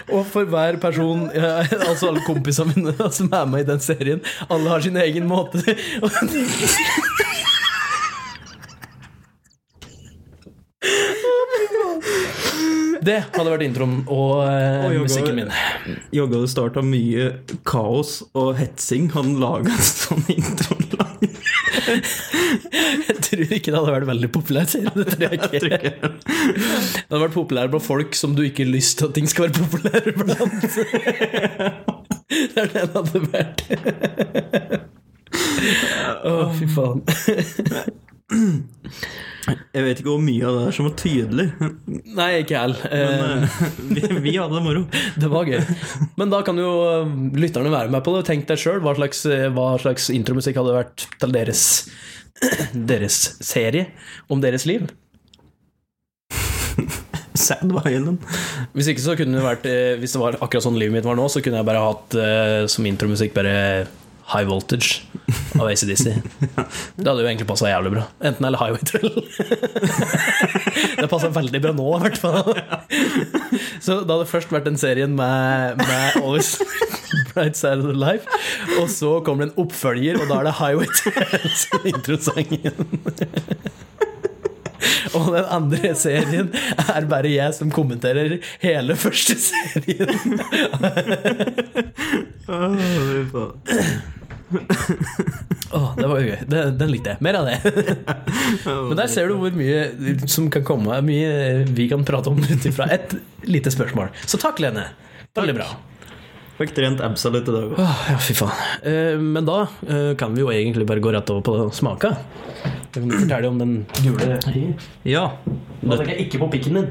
*laughs* Og for hver person, ja, altså alle kompisene mine som er med i den serien, alle har sin egen måte. *laughs* Det hadde vært introen og eh, Oi, oi, oi. musikken min. Jogga det starta mye kaos og hetsing. Han laga en sånn introlag. Jeg tror ikke det hadde vært veldig populært. serie, Det tror jeg ikke. Tror ikke. Det hadde vært populær blant folk som du ikke har lyst til at ting skal være populære blant. Det er det det hadde vært. Å, fy faen. *laughs* Jeg vet ikke hvor mye av det der som var tydelig, Nei, ikke jeg heller. men eh, vi, vi hadde det moro. Det var gøy. Men da kan jo um, lytterne være med på det. Tenk deg sjøl hva, slags- eh, hva slags intromusikk hadde vært til deres, *clears throat* deres serie om deres liv. Sad Violin. Hvis ikke så kunne det vært eh, Hvis det var akkurat sånn livet mitt var nå, så kunne jeg bare hatt eh, som intromusikk bare High Voltage av ACDC. Det hadde jo egentlig passa jævlig bra. Enten eller Highway Trail. *laughs* Det passa veldig bra nå, i hvert fall. Så det hadde først vært den serien med, med Always Bright Side of the Life, og så kommer det en oppfølger, og da er det Highway Trail som introsangen. Og den andre serien er bare jeg som kommenterer hele første serien. Å, fy faen. Åh, det var gøy. Det, den likte jeg. Mer av *laughs* det. Men der ser du hvor mye som kan komme, mye vi kan prate om ut ifra ett lite spørsmål. Så takk, Lene. Veldig bra. Fikk trent absa litt i dag òg. Åh, ja, fy faen. Eh, men da eh, kan vi jo egentlig bare gå rett over på smaka. Da kan du fortelle om den gule Ja. Nå tenker jeg ikke på pikken din.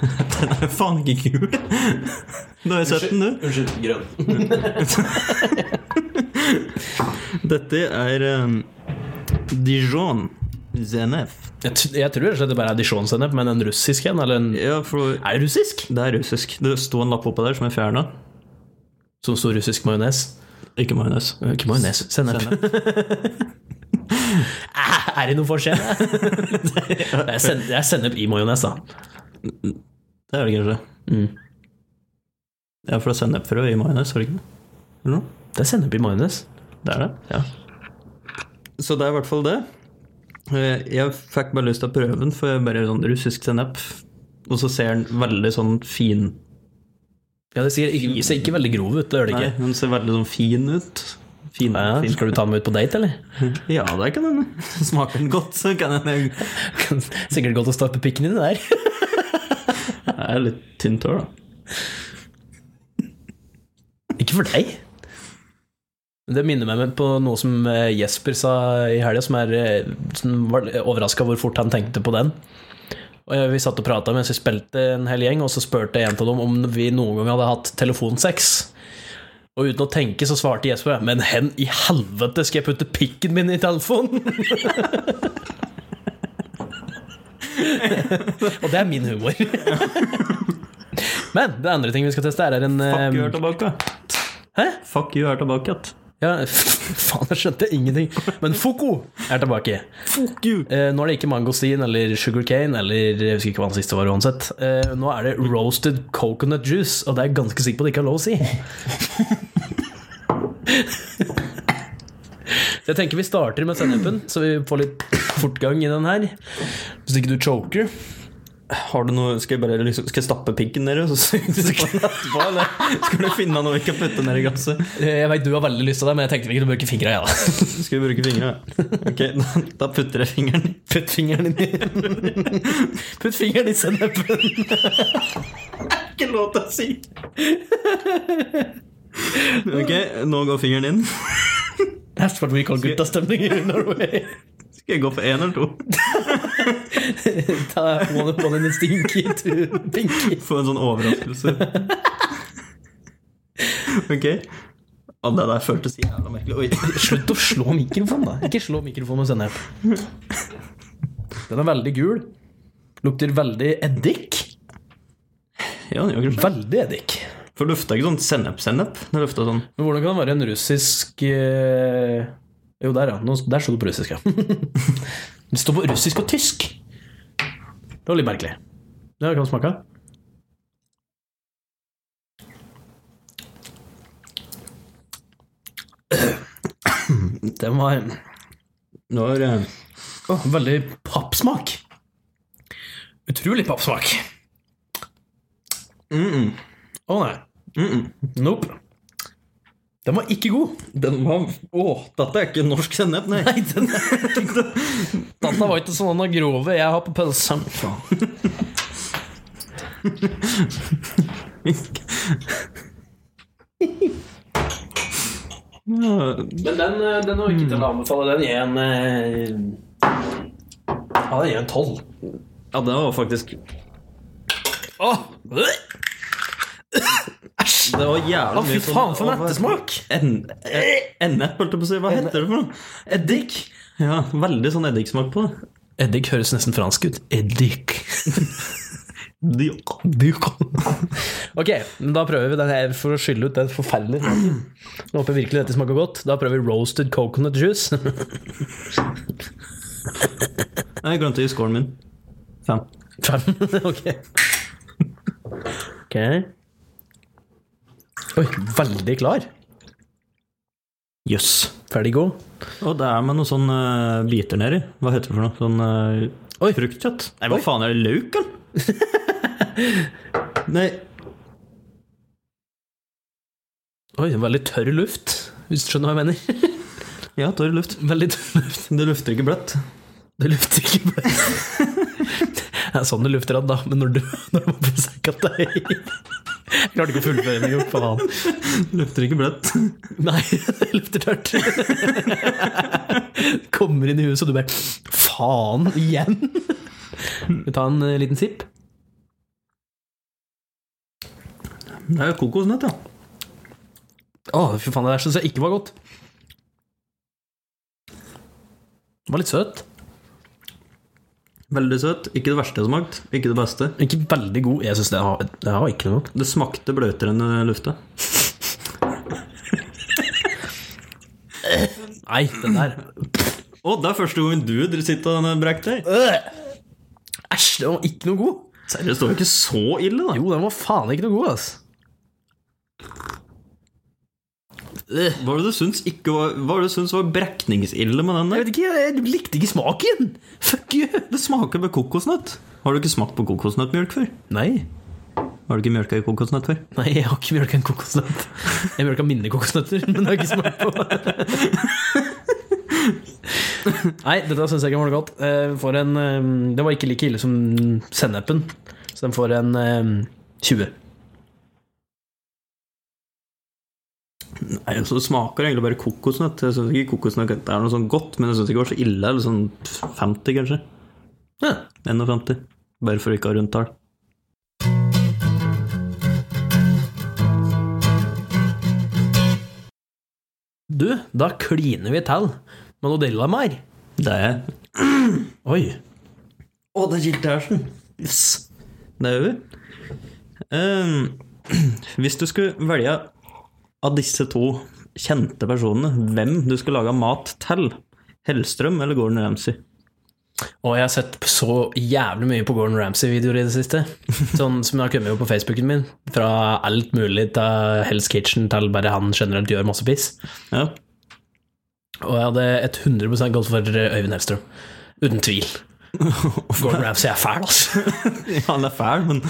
Den er *laughs* faen ikke *laughs* kul. Du har jo sett den, du. Unnskyld, grønn. Dette er um, Dijon Zenef. Jeg, t jeg tror rett og slett det bare er dijon-sennep, men en russisk en? Eller en Ja, for Er det russisk? det er russisk. Det sto en lapp oppå der som jeg fjerna. Som stor russisk majones? Ikke majones. Ikke majones, sennep. *laughs* Æ, Ah, er det noen *laughs* forskjell? det er sen- det er sennep i majones, da. Det er det kanskje. Mm. Ja, for det er sennepfrø i majones, er det ikke det? Eller noe? Det er sennep i majones. Det er det. Ja. Så det er i hvert fall det. Eh, Jeg fikk bare lyst til å prøve den, for jeg er bare sånn russisk sennep. Og så ser den veldig sånn fin ja, det ser ikke, ser ikke veldig grov ut, det gjør det Nei, ikke. den ser veldig sånn fin ut. Fin, Ja, fin. skal du ta med ut på date, eller? Ja, det kan hende. Smaker den godt, så kan hende. *laughs* Sikkert godt å stappe pikken din der. Jeg er litt tynt hår, da. Ikke for deg. Det minner meg på noe som eh, Jesper sa i helga, som, er, eh, som var overraska hvor fort han tenkte på den. Og eh, Vi satt og prata mens vi spilte en hel gjeng, og så spurte en av dem om vi noen gang hadde hatt telefonsex. Og uten å tenke så svarte Jesper Men hen i helvete skal jeg putte pikken min i telefonen? *laughs* og det er min humor. *laughs* Men det andre ting vi skal teste, er en Fuck you eh, er tilbake. Hæ? Fuck you er tilbake. at. Ja, *laughs* faen, jeg skjønte ingenting. Men Foko er tilbake. Fuck you! Eh, nå er det ikke mangostin eller sugarcane eller jeg husker ikke hva den siste var uansett. Eh, nå er det roasted coconut juice, og det er jeg ganske sikker på at det ikke er lov å si. Så jeg tenker vi starter med sennepen, så vi får litt fortgang i den her. Hvis ikke du choker. Har du noe Skal jeg bare liksom Skal jeg stappe pikken nedi, så synger du på den etterpå? Eller skal du finne noe vi kan putte ned i glasset? Eh, Jeg veit du har veldig lyst til det, men jeg tenkte vi kunne bruke fingra, jeg, da. *laughs* Skal vi bruke fingra? Ok, da, da putter jeg fingeren i. Putt fingeren inn i Putt fingeren i sennepen. Ikke lov til å si! Ok, nå går fingeren inn. That's what we call guttastemning i Norway. Skal jeg gå for én eller to? Ta one up one in a stinky to *laughs* pinky. Få en sånn overraskelse. Ok. Å, det der føltes jævla merkelig. Oi. Slutt å slå mikrofonen, da. Ikke slå mikrofonen med sennep. Den er veldig gul. Lukter veldig eddik. Ja, det gjør kanskje Veldig eddik. For det lufta ikke sånn sennep-sennep? Det lufta sånn Men hvordan kan det være en russisk eh, Jo, der, ja. Nå, der sto det på russisk, ja. Det står på russisk og tysk. Det var litt merkelig. Ja, kan du smake? *clears throat* Den var Når eh, Åh, veldig pappsmak. Utrolig pappsmak. mm -mm, Å nei. mm -mm. Nope. Den var ikke god. Den var Å, dette er ikke norsk sennep, nei. Nei, den Dette var ikke sånn grove jeg har på pølsa. Men den, eh, den var ikke til å anbefale. Den gir en eh, Ja, den gir en tolv. Ja, det var faktisk Åh! Det var sånn- jævla Å, fy faen, for en ettersmak! Ennep, eh, holdt jeg på å si. Hva heter det for noe? Eddik. Ja, veldig sånn eddiksmak på det. Eddik høres nesten fransk ut. Eddik. Dio- ok, men da prøver vi den her for å skylle ut den forferdelige smaken. Jeg håper virkelig dette smaker godt. Da prøver vi roasted coconut juice. *laughs* Jeg glemte å gi scoren min. Fem. Fem? ok. Ok. Oi, veldig klar. Jøss. Ferdig god. Og det er med noen sånne eh, biter nedi. Hva heter det for noe? Sånn eh, Oi. fruktkjøtt? Nei, hva Oi. faen er det? Løk, eller? *laughs* Nei. Oi, veldig tørr luft, hvis du skjønner hva jeg mener. *laughs* Ja, tørr luft. Veldig tørr luft. Det lufter ikke bløtt. Det lufter ikke bare *laughs* Det er sånn det lufter an, da, men når du når du må på sekk at det er Jeg klarte ikke å fullføre den engang, faen. *laughs* Lufter ikke bløtt. Nei, *laughs* det lukter tørt. Kommer inn i huset, og du bare Faen, igjen! Vil du ta en eh, liten sipp? Det er jo kokosnøtt, ja. Å, fy faen, det der syns jeg ikke var godt. Det var litt søt. Veldig søt. Ikke det verste jeg har smakt. Ikke det beste. Ikke veldig god. Jeg syns det, var- det var ikke noe godt. Det smakte bløtere enn det lufta. Nei, den der Å, det er første gangen du sitter og brekker deg. Øh! Æsj, den var ikke noe god. Seriøst, det var ikke så ille, da. Jo, den var faen ikke noe god, altså. Øh. Hva var det du syns, ikke var, hva var, det du syns var brekningsille med den Jeg der? vet ikke, jeg likte ikke smaken. Fuck you. Det smaker med kokosnøtt. Har du ikke smakt på kokosnøttmjølk før? Nei. Har du ikke mjølka i kokosnøtt før? Nei, jeg har ikke mjølka en kokosnøtt. Jeg mjølka mine kokosnøtter, men det har jeg ikke smakt på. Nei, dette syns jeg ikke var noe godt. Eh, vi får en, eh, det var ikke like ille som sennepen, så den får en eh, 20. Nei, altså, Det smaker egentlig bare kokosnøtt. Jeg syns ikke kokosnøtt er noe sånn godt, men jeg syns ikke det var så ille. Eller sånn 50, kanskje. Ja. 51. Bare for å ikke ha rundtall. Du, da kliner vi til med noe dillamær. Det er Oi. Å, det er Jill Tersen! Yes. Det gjør vi. Ehm, *clears throat* hvis du skulle velge av disse to kjente personene hvem du skulle lage mat til, Hellstrøm eller Gordon Ramsay? Og jeg har sett så jævlig mye på Gordon Ramsay-videoer i det siste. Sånn som har kommet jo på Facebooken min. Fra alt mulig til Hell's Kitchen til bare han generelt gjør masse piss. Ja. *laughs* Og jeg hadde et 100 gått for Øyvind Hellstrøm. Uten *laughs* tvil. Gordon Ramsay er fæl, altså. ja, han er fæl, men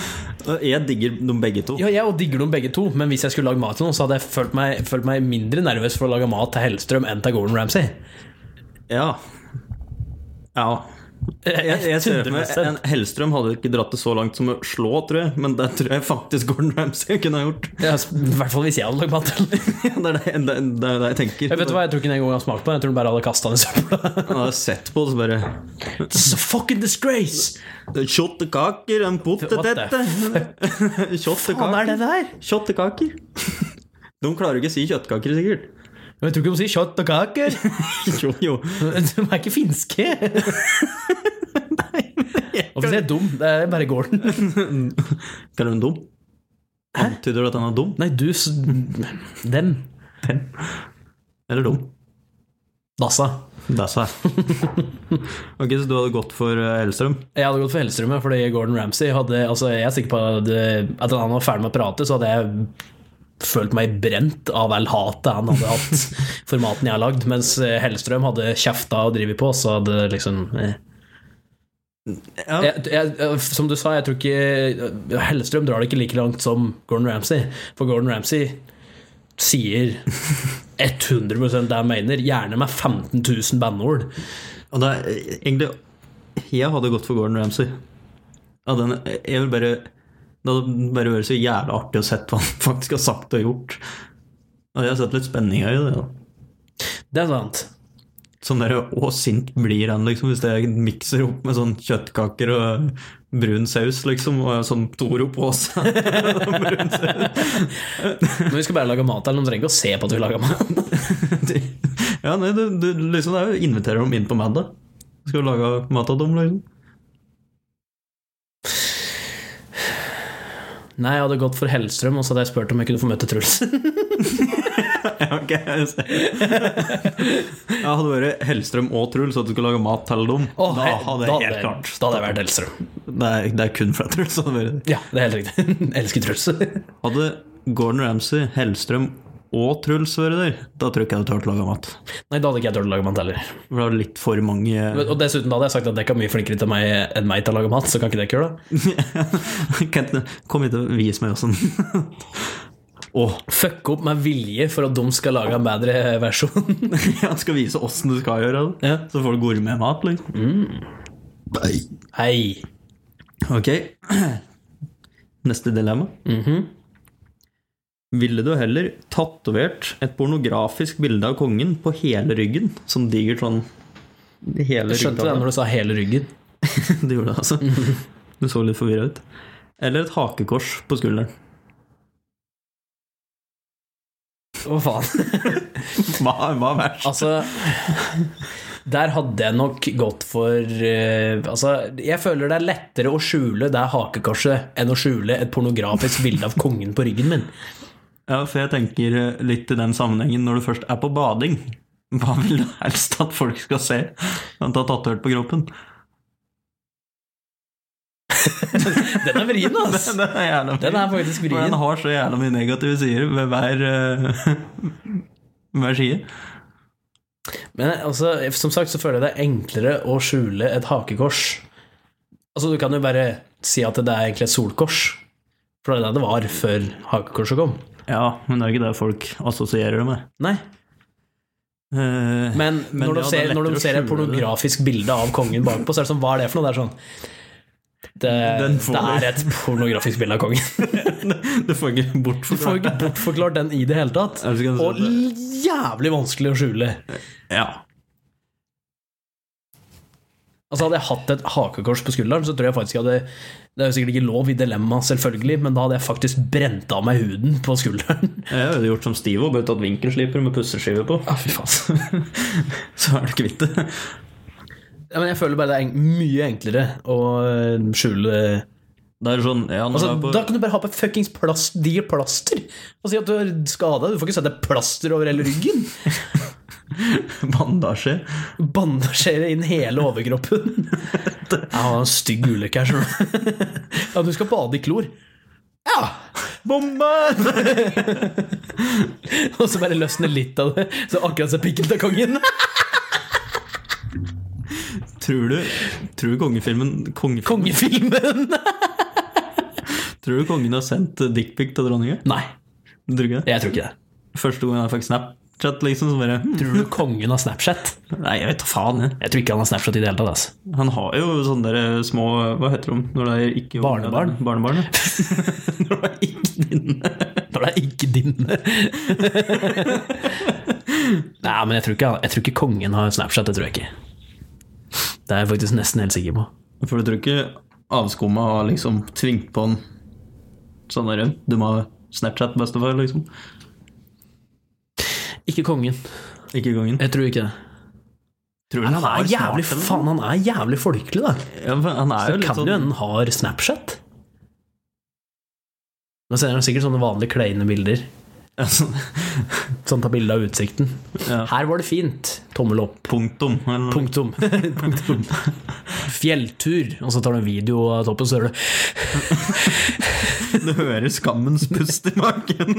jeg digger dem begge to. Ja, jeg og digger dem begge to, men hvis jeg skulle lage mat til noen, så hadde jeg følt meg, følt meg mindre nervøs for å lage mat til Hellstrøm enn til Gordon Ramsay. Ja. Ja. Jeg, jeg ser for meg 100%. en Hellstrøm hadde ikke dratt det så langt som å slå, tror jeg. Men det tror jeg faktisk Gordon Ramsay kunne ha gjort. *laughs* Ja, I hvert fall hvis jeg hadde lagd *laughs* mat til den. det, er det, det, er- det er det jeg tenker. Jeg vet hva, jeg tror ikke den engang jeg har smakt på den. Jeg tror den bare hadde kasta den i søpla. Han hadde sett på det, så bare It's a fucking disgrace! Kjøttkaker, en potetette *laughs* Faen, er Kjøttkaker. det der? Kjøttkaker. De klarer jo ikke å si kjøttkaker, sikkert. Men Jeg tror ikke de sier kjøtt og *laughs* kaker. Jo, jo. De er ikke finske. *laughs* Hvorfor sier jeg dum? Det er bare Gordon. Kaller du den dum? Antyder du at han er dum? Nei, du s- Dem. Eller dum? Dassa. Det sa jeg. *laughs* Ok, så du hadde gått for eh, Hellstrøm? Jeg hadde gått for Hellstrøm, ja, fordi Gordon Ramsay hadde altså, Jeg er sikker på at eh, at han var ferdig med å prate, så hadde jeg følt meg brent av all hatet han hadde hatt for maten jeg har lagd, mens eh, Hellstrøm hadde kjefta og drevet på, så hadde det liksom eh. Ja. jeg, jeg, jeg- Som du sa, jeg tror ikke eh, Hellstrøm drar det ikke like langt som Gordon Ramsay, for Gordon Ramsay sier 100 det han mener, gjerne med 15 000 bandord. Og det er egentlig Jeg hadde gått for Gordon Ramsay. Ja, den, eh, jeg vil bare Det hadde bare vært så jævla artig å sett hva han *laughs* faktisk har sagt og gjort. Og jeg har sett litt spenning i det. da. Det er sant. Sånn der, Å, sint blir han, liksom, hvis jeg mikser opp med sånn kjøttkaker og brun saus, liksom, og sånn Toro på *laughs* seg. Men vi skal bare lage mat, eller de trenger ikke å se på at vi lager mat. Ja, nei, du, du liksom, det er jo inviterer dem inn på middag. Skal du lage mat av dem, liksom? Nei, jeg hadde gått for Hellstrøm, og så hadde jeg spurt om jeg kunne få møte Truls. Ja, ok. Jeg *laughs* ser. Jeg hadde vært Hellstrøm og Truls, at du skulle lage mat til dem. da hadde jeg helt klart. Da hadde jeg vært Hellstrøm. Det er, det er kun fra Truls. Hadde, vært. Ja, det er helt riktig. *laughs* Jeg elsker Truls. Nei, hadde Gordon Ramsay, Hellstrøm og Truls vært der, da tror jeg ikke jeg hadde turt å lage mat. da hadde ikke jeg turt å lage mat heller. For da er det litt for mange Men- Og dessuten da hadde jeg sagt at dere er mye flinkere til meg enn meg til å lage mat, *laughs* så kan ikke dere gjøre det. Kent, Kom hit og vis meg åssen Åh, Fucke opp med vilje for at de skal lage en bedre versjon. *laughs* han skal vise åssen du skal gjøre det. Ja. Så får du gourmetmat, liksom. Nei. Hei. Ok. *clears throat* Neste dilemma. Mhm. Ville du heller tatovert et pornografisk bilde av kongen på hele ryggen? Som digert sånn Jeg Hele skjønte det ryggtatovering. når du sa hele ryggen. Du gjorde *laughs* det, *laughs* altså. Du så litt forvirra ut. Eller et hakekors på skulderen. Hva faen? Hva, hva er verst? Altså Der hadde jeg nok gått for eh, Altså, jeg føler det er lettere å skjule det hakekorset enn å skjule et pornografisk bilde av kongen på ryggen min. Ja, for jeg tenker eh, litt i den sammenhengen når du først er på bading. *laughs* Hva vil du helst at folk skal se? Han tar tatovert på kroppen. *laughs* Den er vrien, ass! Den er jævla Den er faktisk For vrien. den har så jævla mye negative sider ved hver, eh, *laughs* hver side. Men altså, som sagt så føler jeg det er enklere å skjule et hakekors. Altså, du kan jo bare si at det er egentlig et solkors. For det er det det var før hakekorset kom. Ja, men det er ikke det folk assosierer det med. Nei, Eh, men, når, Men ja, de det er ser, når lettere å de ser et skjule pornografisk bilde av kongen bakpå, så er det sånn, hva er det for noe? Det er sånn det, Den får det er du. et pornografisk bilde av kongen. *laughs* *laughs* du får ikke bort Du får jo ikke bortforklart den i det hele tatt. Ja, du kan si Og jævlig vanskelig å skjule. Ja. Altså Hadde jeg hatt et hakekors på skulderen, så tror jeg faktisk jeg hadde Det er jo sikkert ikke lov i dilemma, selvfølgelig, men da hadde jeg faktisk brent av meg huden på skulderen. Jeg hadde gjort som Stivo, bare tatt vinkelsliper med pusseskive på. Ja, fy faen. *laughs* Så er du kvitt *laughs* det. Ja, men jeg føler bare det er en- mye enklere å øh, skjule Det er sånn ja, når Altså, du er på, Da kan du bare ha på fuckings plast, digert plaster og si at du er skada. Du får ikke sette plaster over hele ryggen. *laughs* Bandasje. Bandasjere inn hele overkroppen. Ja, det var en stygg ulykke her, skjønner du. *laughs* Ja, du skal bade i klor. Ja! Bombe! og så bare løsne litt av det, så akkurat så pikken til kongen. Tror du, tror du kongefilmen kongefilm, Kongefilmen! Tror du kongen har sendt dickpic til dronninga? Nei, Tror du ikke det? jeg tror ikke det. Første gangen jeg fikk Snapchat, liksom, så bare hm, Tror du kongen har Snapchat? Nei, jeg vet da faen, jeg. Jeg tror ikke han har Snapchat i det hele tatt. Altså. Han har jo sånne der eh, små Hva heter de når det er ikke Barnebarn. Barnebarn, ja. når det er ikke dine. Når det er ikke din. Nei, men jeg tror, ikke, jeg tror ikke kongen har Snapchat. Det tror jeg ikke. Det er jeg faktisk nesten helt sikker på. For du tror ikke avskumma har liksom tvingt på en sånn derre Du må ha Snapchat, bestefar, liksom. Ikke kongen. Ikke kongen. Jeg tror ikke det. Tror du Men han har er jævlig, smart, eller? faen, han er jævlig folkelig, da. ja, men Han er Det jo litt kan jo sånn hende han har Snapchat. Nå sender han sikkert sånne vanlige kleine bilder. *laughs* altså, Sånn ta bilde av utsikten. Ja. Her var det fint. Tommel opp. Punktum. Eller, *laughs* Punktum. Punktum. Fjelltur. Og så tar du en video av toppen, så hører du Du hører skammens pust i magen.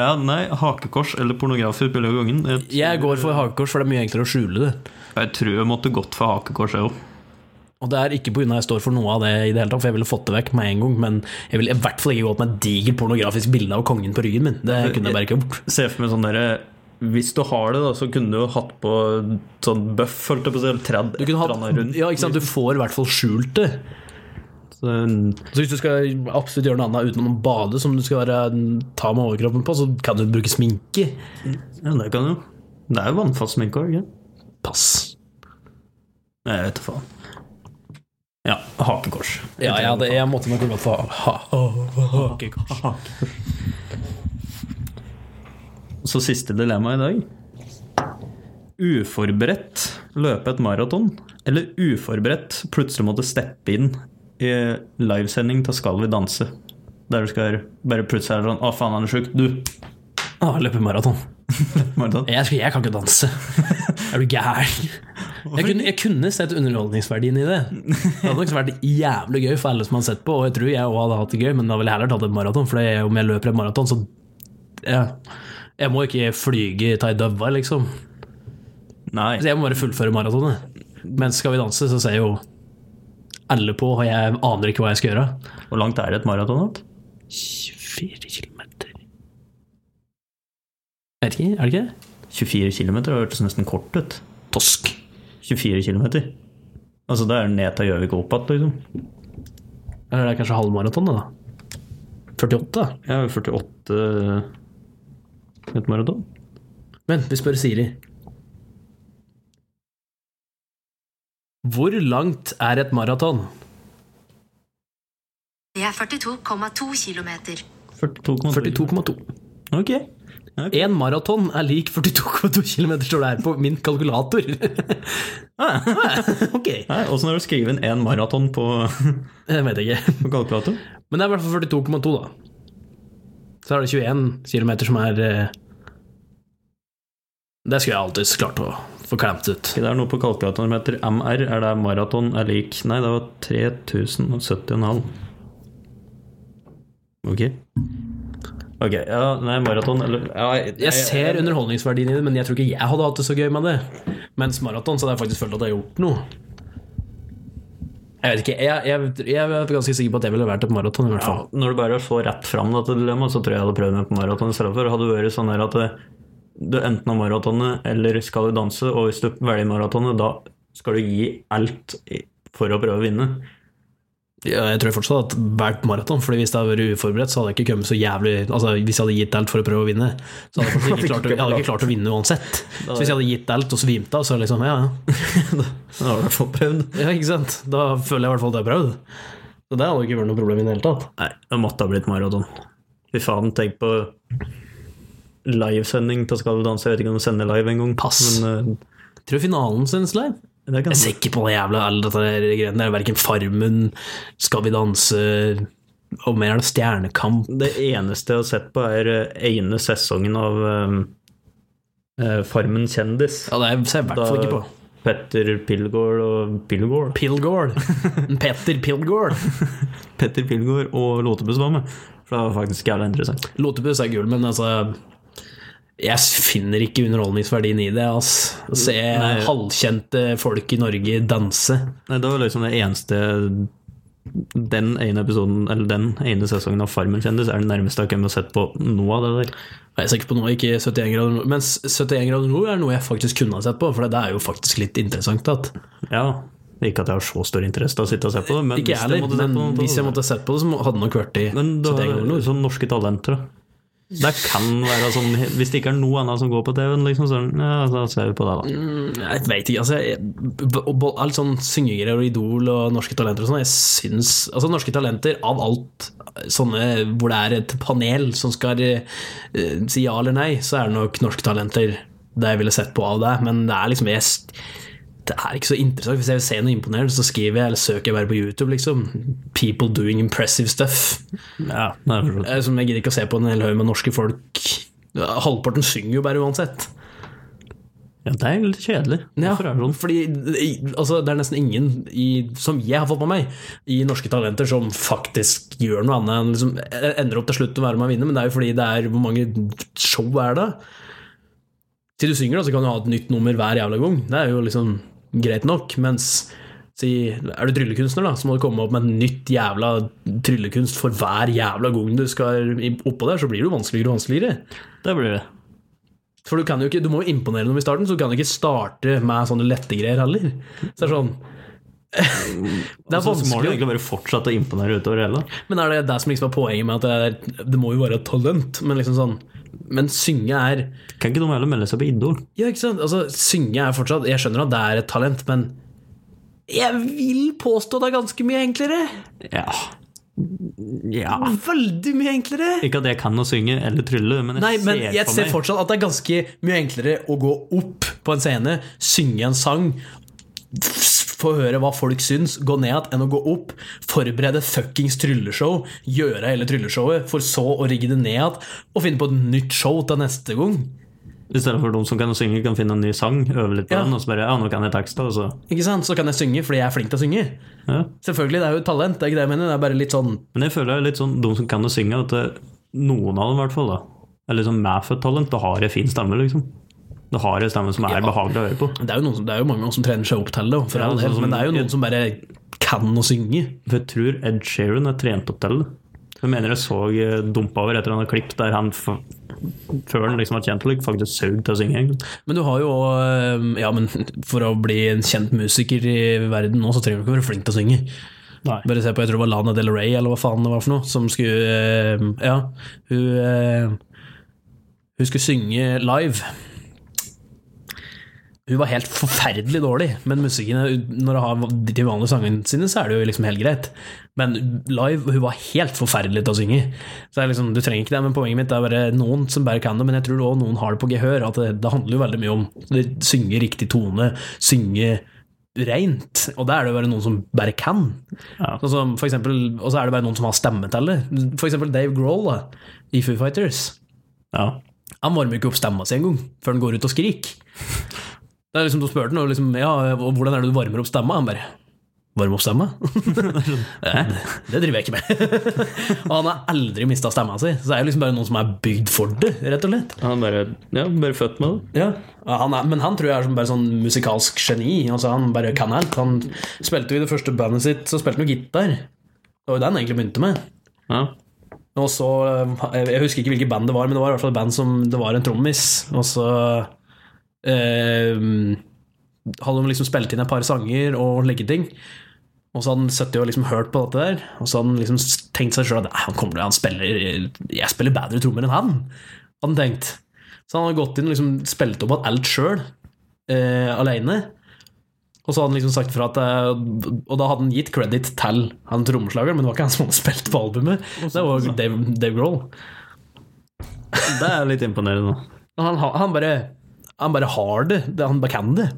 ja, nei, hakekors eller pornografi spiller jo kongen. Jeg, Jeg går for hakekors, for det er mye enklere å skjule det. jeg tror jeg måtte gått for hakekors, jeg òg. Og det er ikke pga. jeg står for noe av det i det hele tatt, for jeg ville fått det vekk med en gang, men jeg ville i hvert fall ikke gått med et digert pornografisk bilde av kongen på ryggen min. Det kunne jeg bare ikke gjort. Se for meg sånn derre Hvis du har det, da, så kunne du jo hatt på sånn buff, holdt jeg på å si, eller tredd Du kunne et eller annet hatt, rundt. ja, ikke sant? Du får i hvert fall skjult det. Så, Så hvis du skal absolutt gjøre noe annet utenom å bade, som du skal være, ta med overkroppen på, så kan du bruke sminke. ja, det kan du jo. Det er jo vannfast sminke òg, ikke Pass. Nei, Jeg vet da faen. Ja, hakekors. Ja, jeg, hadde, jeg måtte nok ha gått for ha, hakekors. Så siste dilemma i dag. Uforberedt løpe et maraton, eller uforberedt plutselig måtte steppe inn i livesending til Skal vi danse? Der du skal bare plutselig er det sånn Å, faen, han er sjuk. Du, *laughs* Ah, løpe maraton. maraton. Jeg, skal- jeg kan ikke danse. Er du gæren? Jeg kunne, jeg kunne sett underholdningsverdien i det. Det hadde nok vært jævlig gøy for alle som har sett på, og jeg tror jeg òg hadde hatt det gøy, men da ville jeg heller tatt et maraton, for det er- om jeg løper et maraton, så ja. Jeg må ikke flyge ta i døva, liksom. Nei. Så jeg må bare fullføre maratonet. Men skal vi danse, så sier jeg jo alle på, og jeg aner ikke hva jeg skal gjøre. Hvor langt er det et maraton? Odd? 24 kilometer. Jeg vet ikke, er det ikke det? 24 km hørtes nesten kort ut. Tosk. 24 km. Altså, da er det ned til Gjøvik og opp igjen, liksom. Eller det er kanskje halvmaraton, det, da. 48, da. Jeg er jo 48 et maraton. Men vi spør Siri. Hvor langt er et maraton? Det er 42,2 kilometer. 42,2. 42,2. Ok. Én maraton er lik 42,2 km, står det her på min kalkulator. Ah, ok, Nei, Åssen har du skrevet inn én maraton på, *laughs* jeg vet ikke. på kalkulator? Men det er i hvert fall 42,2, da. Så er det 21 km som er eh, Det skulle jeg alltids klart å få klemt ut. Ok, Det er noe på kalkulatoren som heter MR. Er det maraton er lik Nei, det var 3070,5. Ok. Ok, ja, nei, maraton eller ja, jeg, Jeg ser underholdningsverdien i det, men jeg tror ikke jeg hadde hatt det så gøy med det. Mens maraton så hadde jeg faktisk følt at jeg har gjort noe. Jeg vet ikke, jeg, jeg, jeg er ganske sikker på at jeg ville vært et maraton i hvert fall. Når du bare så rett fram dette dilemmaet, så tror jeg jeg hadde prøvd meg på maraton istedenfor. Hadde det vært sånn her at eh, du enten har maratonet eller skal du danse, og hvis du velger maratonet, da skal du gi alt i- for å prøve å vinne. Ja, jeg tror fortsatt at hvert maraton, Fordi hvis det hadde vært uforberedt, så hadde jeg ikke kommet så jævlig Altså Hvis jeg hadde gitt alt for å prøve å vinne, så hadde jeg faktisk ikke klart å, jeg hadde ikke klart å vinne uansett. Så hvis jeg hadde gitt alt og svimte av, så liksom Ja, ja. Da har du i hvert fall prøvd. ja, ikke sant? Da føler jeg i hvert fall at jeg har prøvd. Så det hadde ikke vært noe problem i det hele tatt. Nei, det måtte ha blitt maraton. Fy faen, tenk på livesending til Skal vi danse. Jeg vet ikke om de sender live engang. Pass. Men eh, Jeg tror finalen synes live. det kan Jeg er sikker på det jævla alle dette der greiene der. Verken Farmen, Skal vi danse og mer er det Stjernekamp. Det eneste jeg har sett på, er eh, ene sesongen av eh, eh, Farmen kjendis. Ja, det ser jeg i hvert fall ikke på. Petter Pilgaard og Pilgaard Pilgård. *laughs* Petter Pilgård. Petter Pilgaard og Låtebuss var med. For det var faktisk jævla interessant. Lotepus er gull, men altså Jeg finner ikke underholdningsverdien i det. ass. Å se halvkjente folk i Norge danse. Nei, det var liksom det eneste Den ene episoden, eller den ene sesongen av Farmen kjendis, er det nærmeste jeg har kommet og sett på noe av det der. Jeg er sikker på noe, ikke 71 grader nord. Mens 71 grader nord er noe jeg faktisk kunne ha sett på, for det er jo faktisk litt interessant. At. Ja, Ikke at jeg har så stor interesse av å sitte og se på det, men Ikke jeg heller, se men på noe, hvis jeg måtte sett på det, så må- hadde det nok vært i Men du 71 har grader nord. sånn norske talenter, da. Det kan være sånn Hvis det ikke er noe annet som går på TV-en, liksom, så ja, da ser vi på det, Mm. da. Jeg vet ikke, altså jeg, og bo- Alt sånn syngegreier og Idol og Norske Talenter og sånn, jeg syns Altså, Norske Talenter av alt sånne hvor det er et panel som skal eh, si ja eller nei, så er det nok Norske Talenter det jeg ville sett på av det, men det er liksom jeg, s- Det er ikke så interessant. Hvis jeg vil se noe imponerende, så skriver jeg eller søker jeg bare på YouTube, liksom. People doing impressive stuff. Ja, det er forstått. Eh, Som jeg gidder ikke å se på en hel haug med norske folk. Halvparten synger jo bare uansett. ja, det er litt kjedelig. Ja, Hvorfor er det sånn? fordi altså, det er nesten ingen i, som jeg har fått med meg, i Norske Talenter som faktisk gjør noe annet enn liksom, ender opp til slutt å være med å vinne, men det er jo fordi det er hvor mange show er det? Til du synger, da, så kan du ha et nytt nummer hver jævla gang. Det er jo liksom greit nok, mens si, er du tryllekunstner, da, så må du komme opp med et nytt jævla tryllekunst for hver jævla gang du skal i- oppå der, så blir det jo vanskeligere og vanskeligere. Det blir det. For du, kan jo ikke, du må jo imponere noen i starten, så du kan jo ikke starte med sånne lette greier heller. Så det er sånn *laughs* Det er Altså, Så må du vanskelig. egentlig bare fortsette å imponere utover hele. Men er det det som liksom er poenget med at det, er, det må jo være et talent? Men liksom sånn Men synge er Kan ikke de heller melde seg på Idol? Ja, ikke sant? Altså, synge er fortsatt Jeg skjønner at det er et talent, men jeg vil påstå det er ganske mye enklere. Ja. ja. Veldig mye enklere. Ikke at jeg kan å synge eller trylle, men jeg Nei, men ser jeg på ser meg fortsatt at det er ganske mye enklere å gå opp på en scene, synge en sang, f- få høre hva folk syns, gå ned igjen, enn å gå opp, forberede fuckings trylleshow, gjøre hele trylleshowet, for så å rigge det ned igjen, og finne på et nytt show til neste gang. I stedet for de som kan synge, kan finne en ny sang, øve litt på Ja. den, og så bare Ja, nå kan jeg teksta, og så Ikke sant? Så kan jeg synge fordi jeg er flink til å synge. ja. Selvfølgelig, det er jo et talent, det er ikke det jeg mener, det er bare litt sånn Men jeg føler det er litt sånn de som kan å synge, at eh, noen av dem i hvert fall, da, er liksom medfødt talent og har en fin stemme, liksom. Du har en stemme som er behagelig å høre på. Det er jo, noen som, det er jo mange som trener seg opp til det, for Ja, all del, sånn som- men det er jo noen som bare kan å synge. For Jeg tror Ed Sheeran er trent opp til det. Jeg mener jeg så eh, dumpa over et eller annet klipp der han f før han liksom var kjent, like, faktisk saug til å synge. Men du har jo også, eh, Ja, men for å bli en kjent musiker i verden nå, så trenger du ikke være flink til å synge. Nei. Bare se på, jeg tror det var Lana Del Rey, eller hva faen det var for noe, som skulle eh, Ja, hun eh, Hun skulle synge live. Hun var helt forferdelig dårlig, men musikken er- når hun har de vanlige sangene sine, så er det jo liksom helt greit. Men live, hun var helt forferdelig til å synge. Så det er liksom, Du trenger ikke det, men poenget mitt er bare noen som bare kan det. Men jeg tror også noen har det på gehør. At det, det handler jo veldig mye om å synge riktig tone, synge rent. Og da er det jo bare noen som bare kan. Ja. Sånn som for eksempel, og så er det bare noen som har stemme til det. For eksempel Dave Grohl da, i Foo Fighters. Ja. Han varmer jo ikke opp stemma si engang, før han går ut og skriker. Det er liksom, Du spør den, og liksom, ja, og hvordan er det du varmer opp stemma? Han bare Varme opp stemma? *laughs* Nei, det driver jeg ikke med. *laughs* og han har aldri mista stemma si, så det er jo liksom bare noen som er bygd for det, rett og slett. Han bare, ja, bare født med det. Ja, han er, Men han tror jeg er som bare sånn musikalsk geni. Altså Han bare kan alt. Han spilte jo i det første bandet sitt, så spilte han jo gitar. Det var jo det han egentlig begynte med. Ja. Og så, eh, Jeg husker ikke hvilket band det var, men det var i hvert fall et band som det var en trommis. Og så eh, hadde de liksom spilt inn et par sanger og like ting. Og så hadde han sittet og liksom hørt på dette der, og så hadde han liksom tenkt seg sjøl at "Nei, han kommer til, han spiller, jeg spiller bedre trommer enn han. Hadde han tenkt. Så han hadde gått inn og liksom spilt opp alt sjøl, eh, aleine. Og så hadde han liksom sagt fra at eh, Og da hadde han gitt credit til han trommeslageren, men det var ikke han som hadde spilt på albumet. Det var jo Dave, Dave Grohl. Det er litt imponerende. da. Og Han, ha- han, bare, han bare har det. det han bare kan det.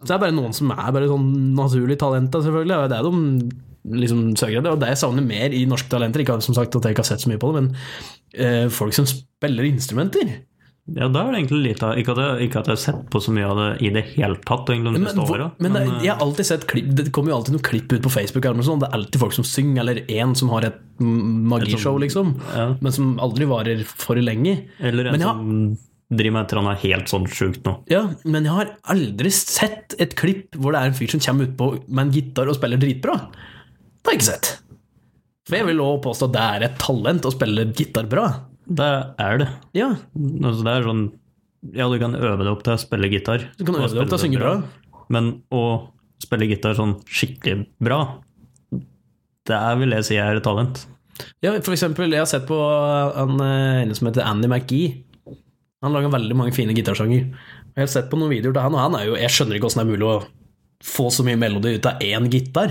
Så det er bare noen som er bare sånn naturlig talenta, selvfølgelig. og Det er de liksom søker etter. Og det jeg savner mer i norske talenter, ikke som sagt at jeg ikke har sett så mye på det, men eh, folk som spiller instrumenter. Ja, da er det egentlig litt av Ikke at jeg, ikke at jeg har sett på så mye av det i det hele tatt. egentlig, de Men, siste hvor, åra. men det, Men, eh, jeg har alltid sett klipp Det kommer jo alltid noen klipp ut på Facebook. eller noe sånt, Det er alltid folk som synger, eller én som har et mm, magishow, liksom. Ja. Men som aldri varer for lenge. Eller en men jeg har- som driver med et eller annet helt sånn sjukt nå. Ja, men jeg har aldri sett et klipp hvor det er en fyr som kommer utpå med en gitar og spiller dritbra. Det har jeg ikke sett. For jeg vil også påstå at det er et talent å spille gitar bra. Det er det. Ja, Altså, det er sånn Ja, du kan øve deg opp til å spille gitar. Du kan og øve deg opp til å spille synge bra. Men å spille gitar sånn skikkelig bra, det er, vil jeg si er et talent. ja for eksempel, jeg har sett på en, eh, en som heter Andy McGee. Han lager veldig mange fine gitarsanger. Og Jeg har sett på noen videoer til han, og han er jo Jeg skjønner ikke åssen det er mulig å få så mye melodi ut av én gitar.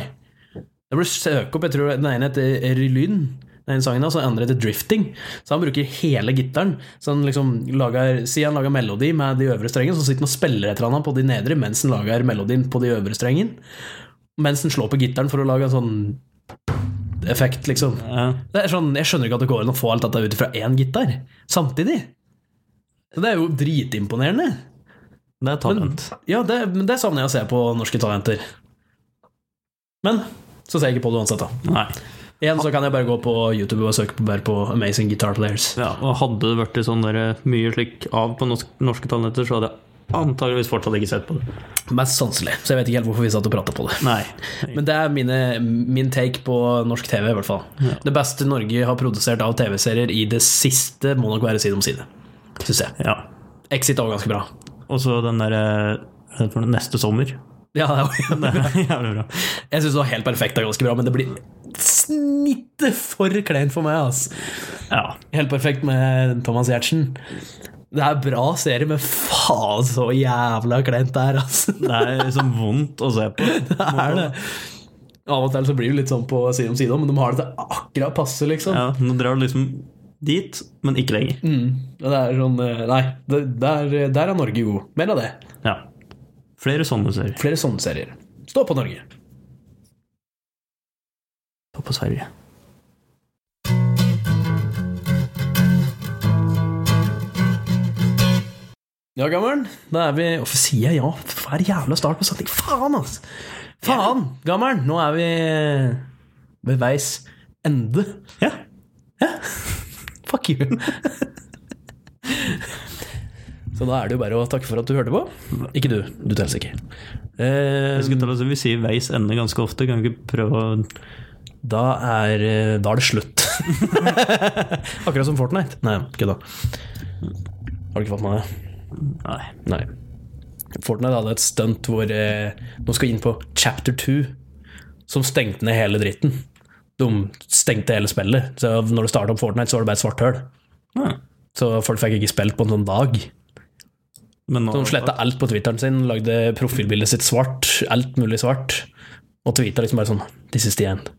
Jeg burde søke opp, jeg tror den ene heter Rylyn, den ene sangen hans, og den andre heter Drifting. Så han bruker hele gitaren. Så han liksom lager, Si han lager melodi med de øvre strengene, så sitter han og spiller et eller annet på de nedre mens han lager melodien på de øvre strengene. Mens han slår på gitaren for å lage en sånn effekt, liksom. Ja. Det er sånn, jeg skjønner ikke at det går an å få alt dette ut fra én gitar samtidig. Så det er jo dritimponerende. Det er talent. Ja, det, men det savner jeg å se på norske talenter. Men så ser jeg ikke på det uansett, da. Nei. Igjen så kan jeg bare gå på YouTube og søke på, bare på Amazing Guitar Players. Ja, og hadde det vært sånn der, mye slik av på norsk, norske talenter, så hadde jeg antageligvis fortsatt ikke sett på det. Mest sanselig, så jeg vet ikke helt hvorfor vi satt og prata på det. Nei. Men det er mine, min take på norsk TV, i hvert fall. Det beste Norge har produsert av TV-serier i det siste, må nok være Side om side. Syns jeg. Ja. Exit var ganske bra. Og så den eh, derre for neste *laughs* sommer. *laughs* Ja, det var- Jævlig bra. jeg syns det var helt perfekt og ganske bra, men det blir snittet for kleint for meg, altså. Ja. Helt perfekt med Thomas Giertsen. Det er bra serie, men faen så jævla kleint det er, altså. Det er liksom vondt å se på. *laughs* Det er det. Av og til så blir det litt sånn på side om side, men de har det til akkurat passe, liksom. Ja, nå drar du liksom dit, men ikke lenger. Mm. Og Det er sånn eh, Nei, det, der, der er Norge god. Mer av det. Ja. Flere sånne serier. Flere sånne serier. Stå på Norge. Stå på Sverige. Ja, gammelen. Da er vi Hvorfor sier jeg ja? Hver jævla start på setning. Faen, altså! Faen, gammelen! Nå er vi ved veis ende. Ja. Fuck you! *laughs* Så da er det jo bare å takke for at du hørte på. Ikke du, du telles ikke. Eh, Jeg skulle til å si, Vi sier veis ende ganske ofte. Kan vi ikke prøve å da, er, eh, da er det slutt. *laughs* Akkurat som Fortnite. Nei, kødda. Har du ikke fått med deg det? Nei. Nei. Fortnite hadde et stunt hvor eh, Nå skal vi inn på chapter 2, som stengte ned hele dritten. De stengte hele spillet. Så når du starta opp Fortnite, så var det bare et svart høl. Ja. Så folk fikk ikke spilt på en sånn dag. Men Så nå, de sletta alt på Twitteren sin, lagde profilbildet sitt svart, alt mulig svart, og tweeta liksom bare sånn This is the end.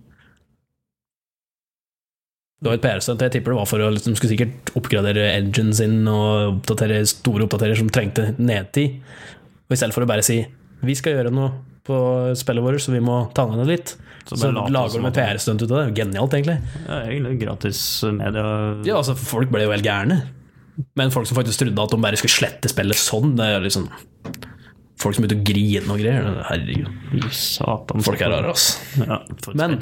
Det var et PR-stunt. Jeg tipper det var for å liksom, skulle sikkert oppgradere enginen sin og oppdatere store oppdaterer som trengte nedtid. Og i stedet for å bare si 'vi skal gjøre noe på spillet vårt, så vi må ta ned det litt', Så så, bare late lager som de at- et PR-stunt ut av det. Genialt, egentlig. ja, egentlig gratis media. Ja, altså, folk ble jo helt gærne. Men folk som faktisk trodde at de bare skulle slette spillet sånn, det er liksom Folk som begynte å grine og greier. Herregud. Fy Satan. Folk er rare, ass. Ja, for- *laughs* Men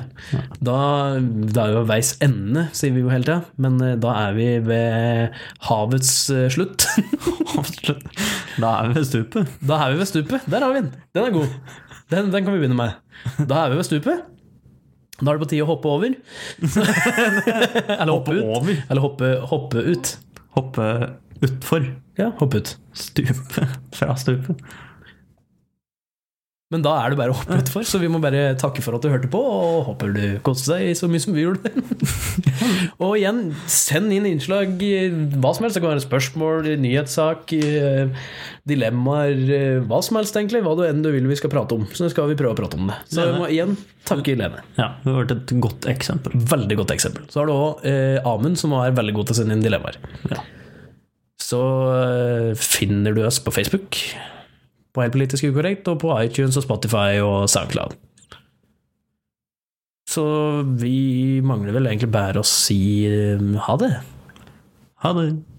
da Det er jo veis ende, sier vi jo hele tida. Men eh, da er vi ved havets eh, slutt. *laughs* Da er vi ved stupet. da er vi ved stupet. Der har vi den. Den er god. Den, den kan vi begynne med. Da er vi ved stupet. Da er det på tide å hoppe over. *laughs* Eller hoppe ut. over? Eller hoppe, hoppe ut. Hoppe utfor. Ja, hoppe ut. Stupet. *laughs* Fra stupet. Men da er det bare å hoppe utfor, så vi må bare takke for at du hørte på, og håper du koste deg så mye som vi gjorde. og igjen, send inn innslag, eh, hva som helst. Det kan være spørsmål, nyhetssak, eh, dilemmaer, eh, hva som helst, egentlig. Hva du enn du vil vi skal prate om. Så nå skal vi prøve å prate om det. Så vi må igjen takke Lene. Ja, det har vært et godt eksempel. Veldig godt eksempel. Så har du òg eh, Amund, som er veldig god til å sende inn dilemmaer. Ja. Så eh, finner du oss på Facebook, på Helt politisk ukorrekt, og på iTunes og Spotify og SoundCloud. Så vi mangler vel egentlig bare å si eh, ha det. Ha det.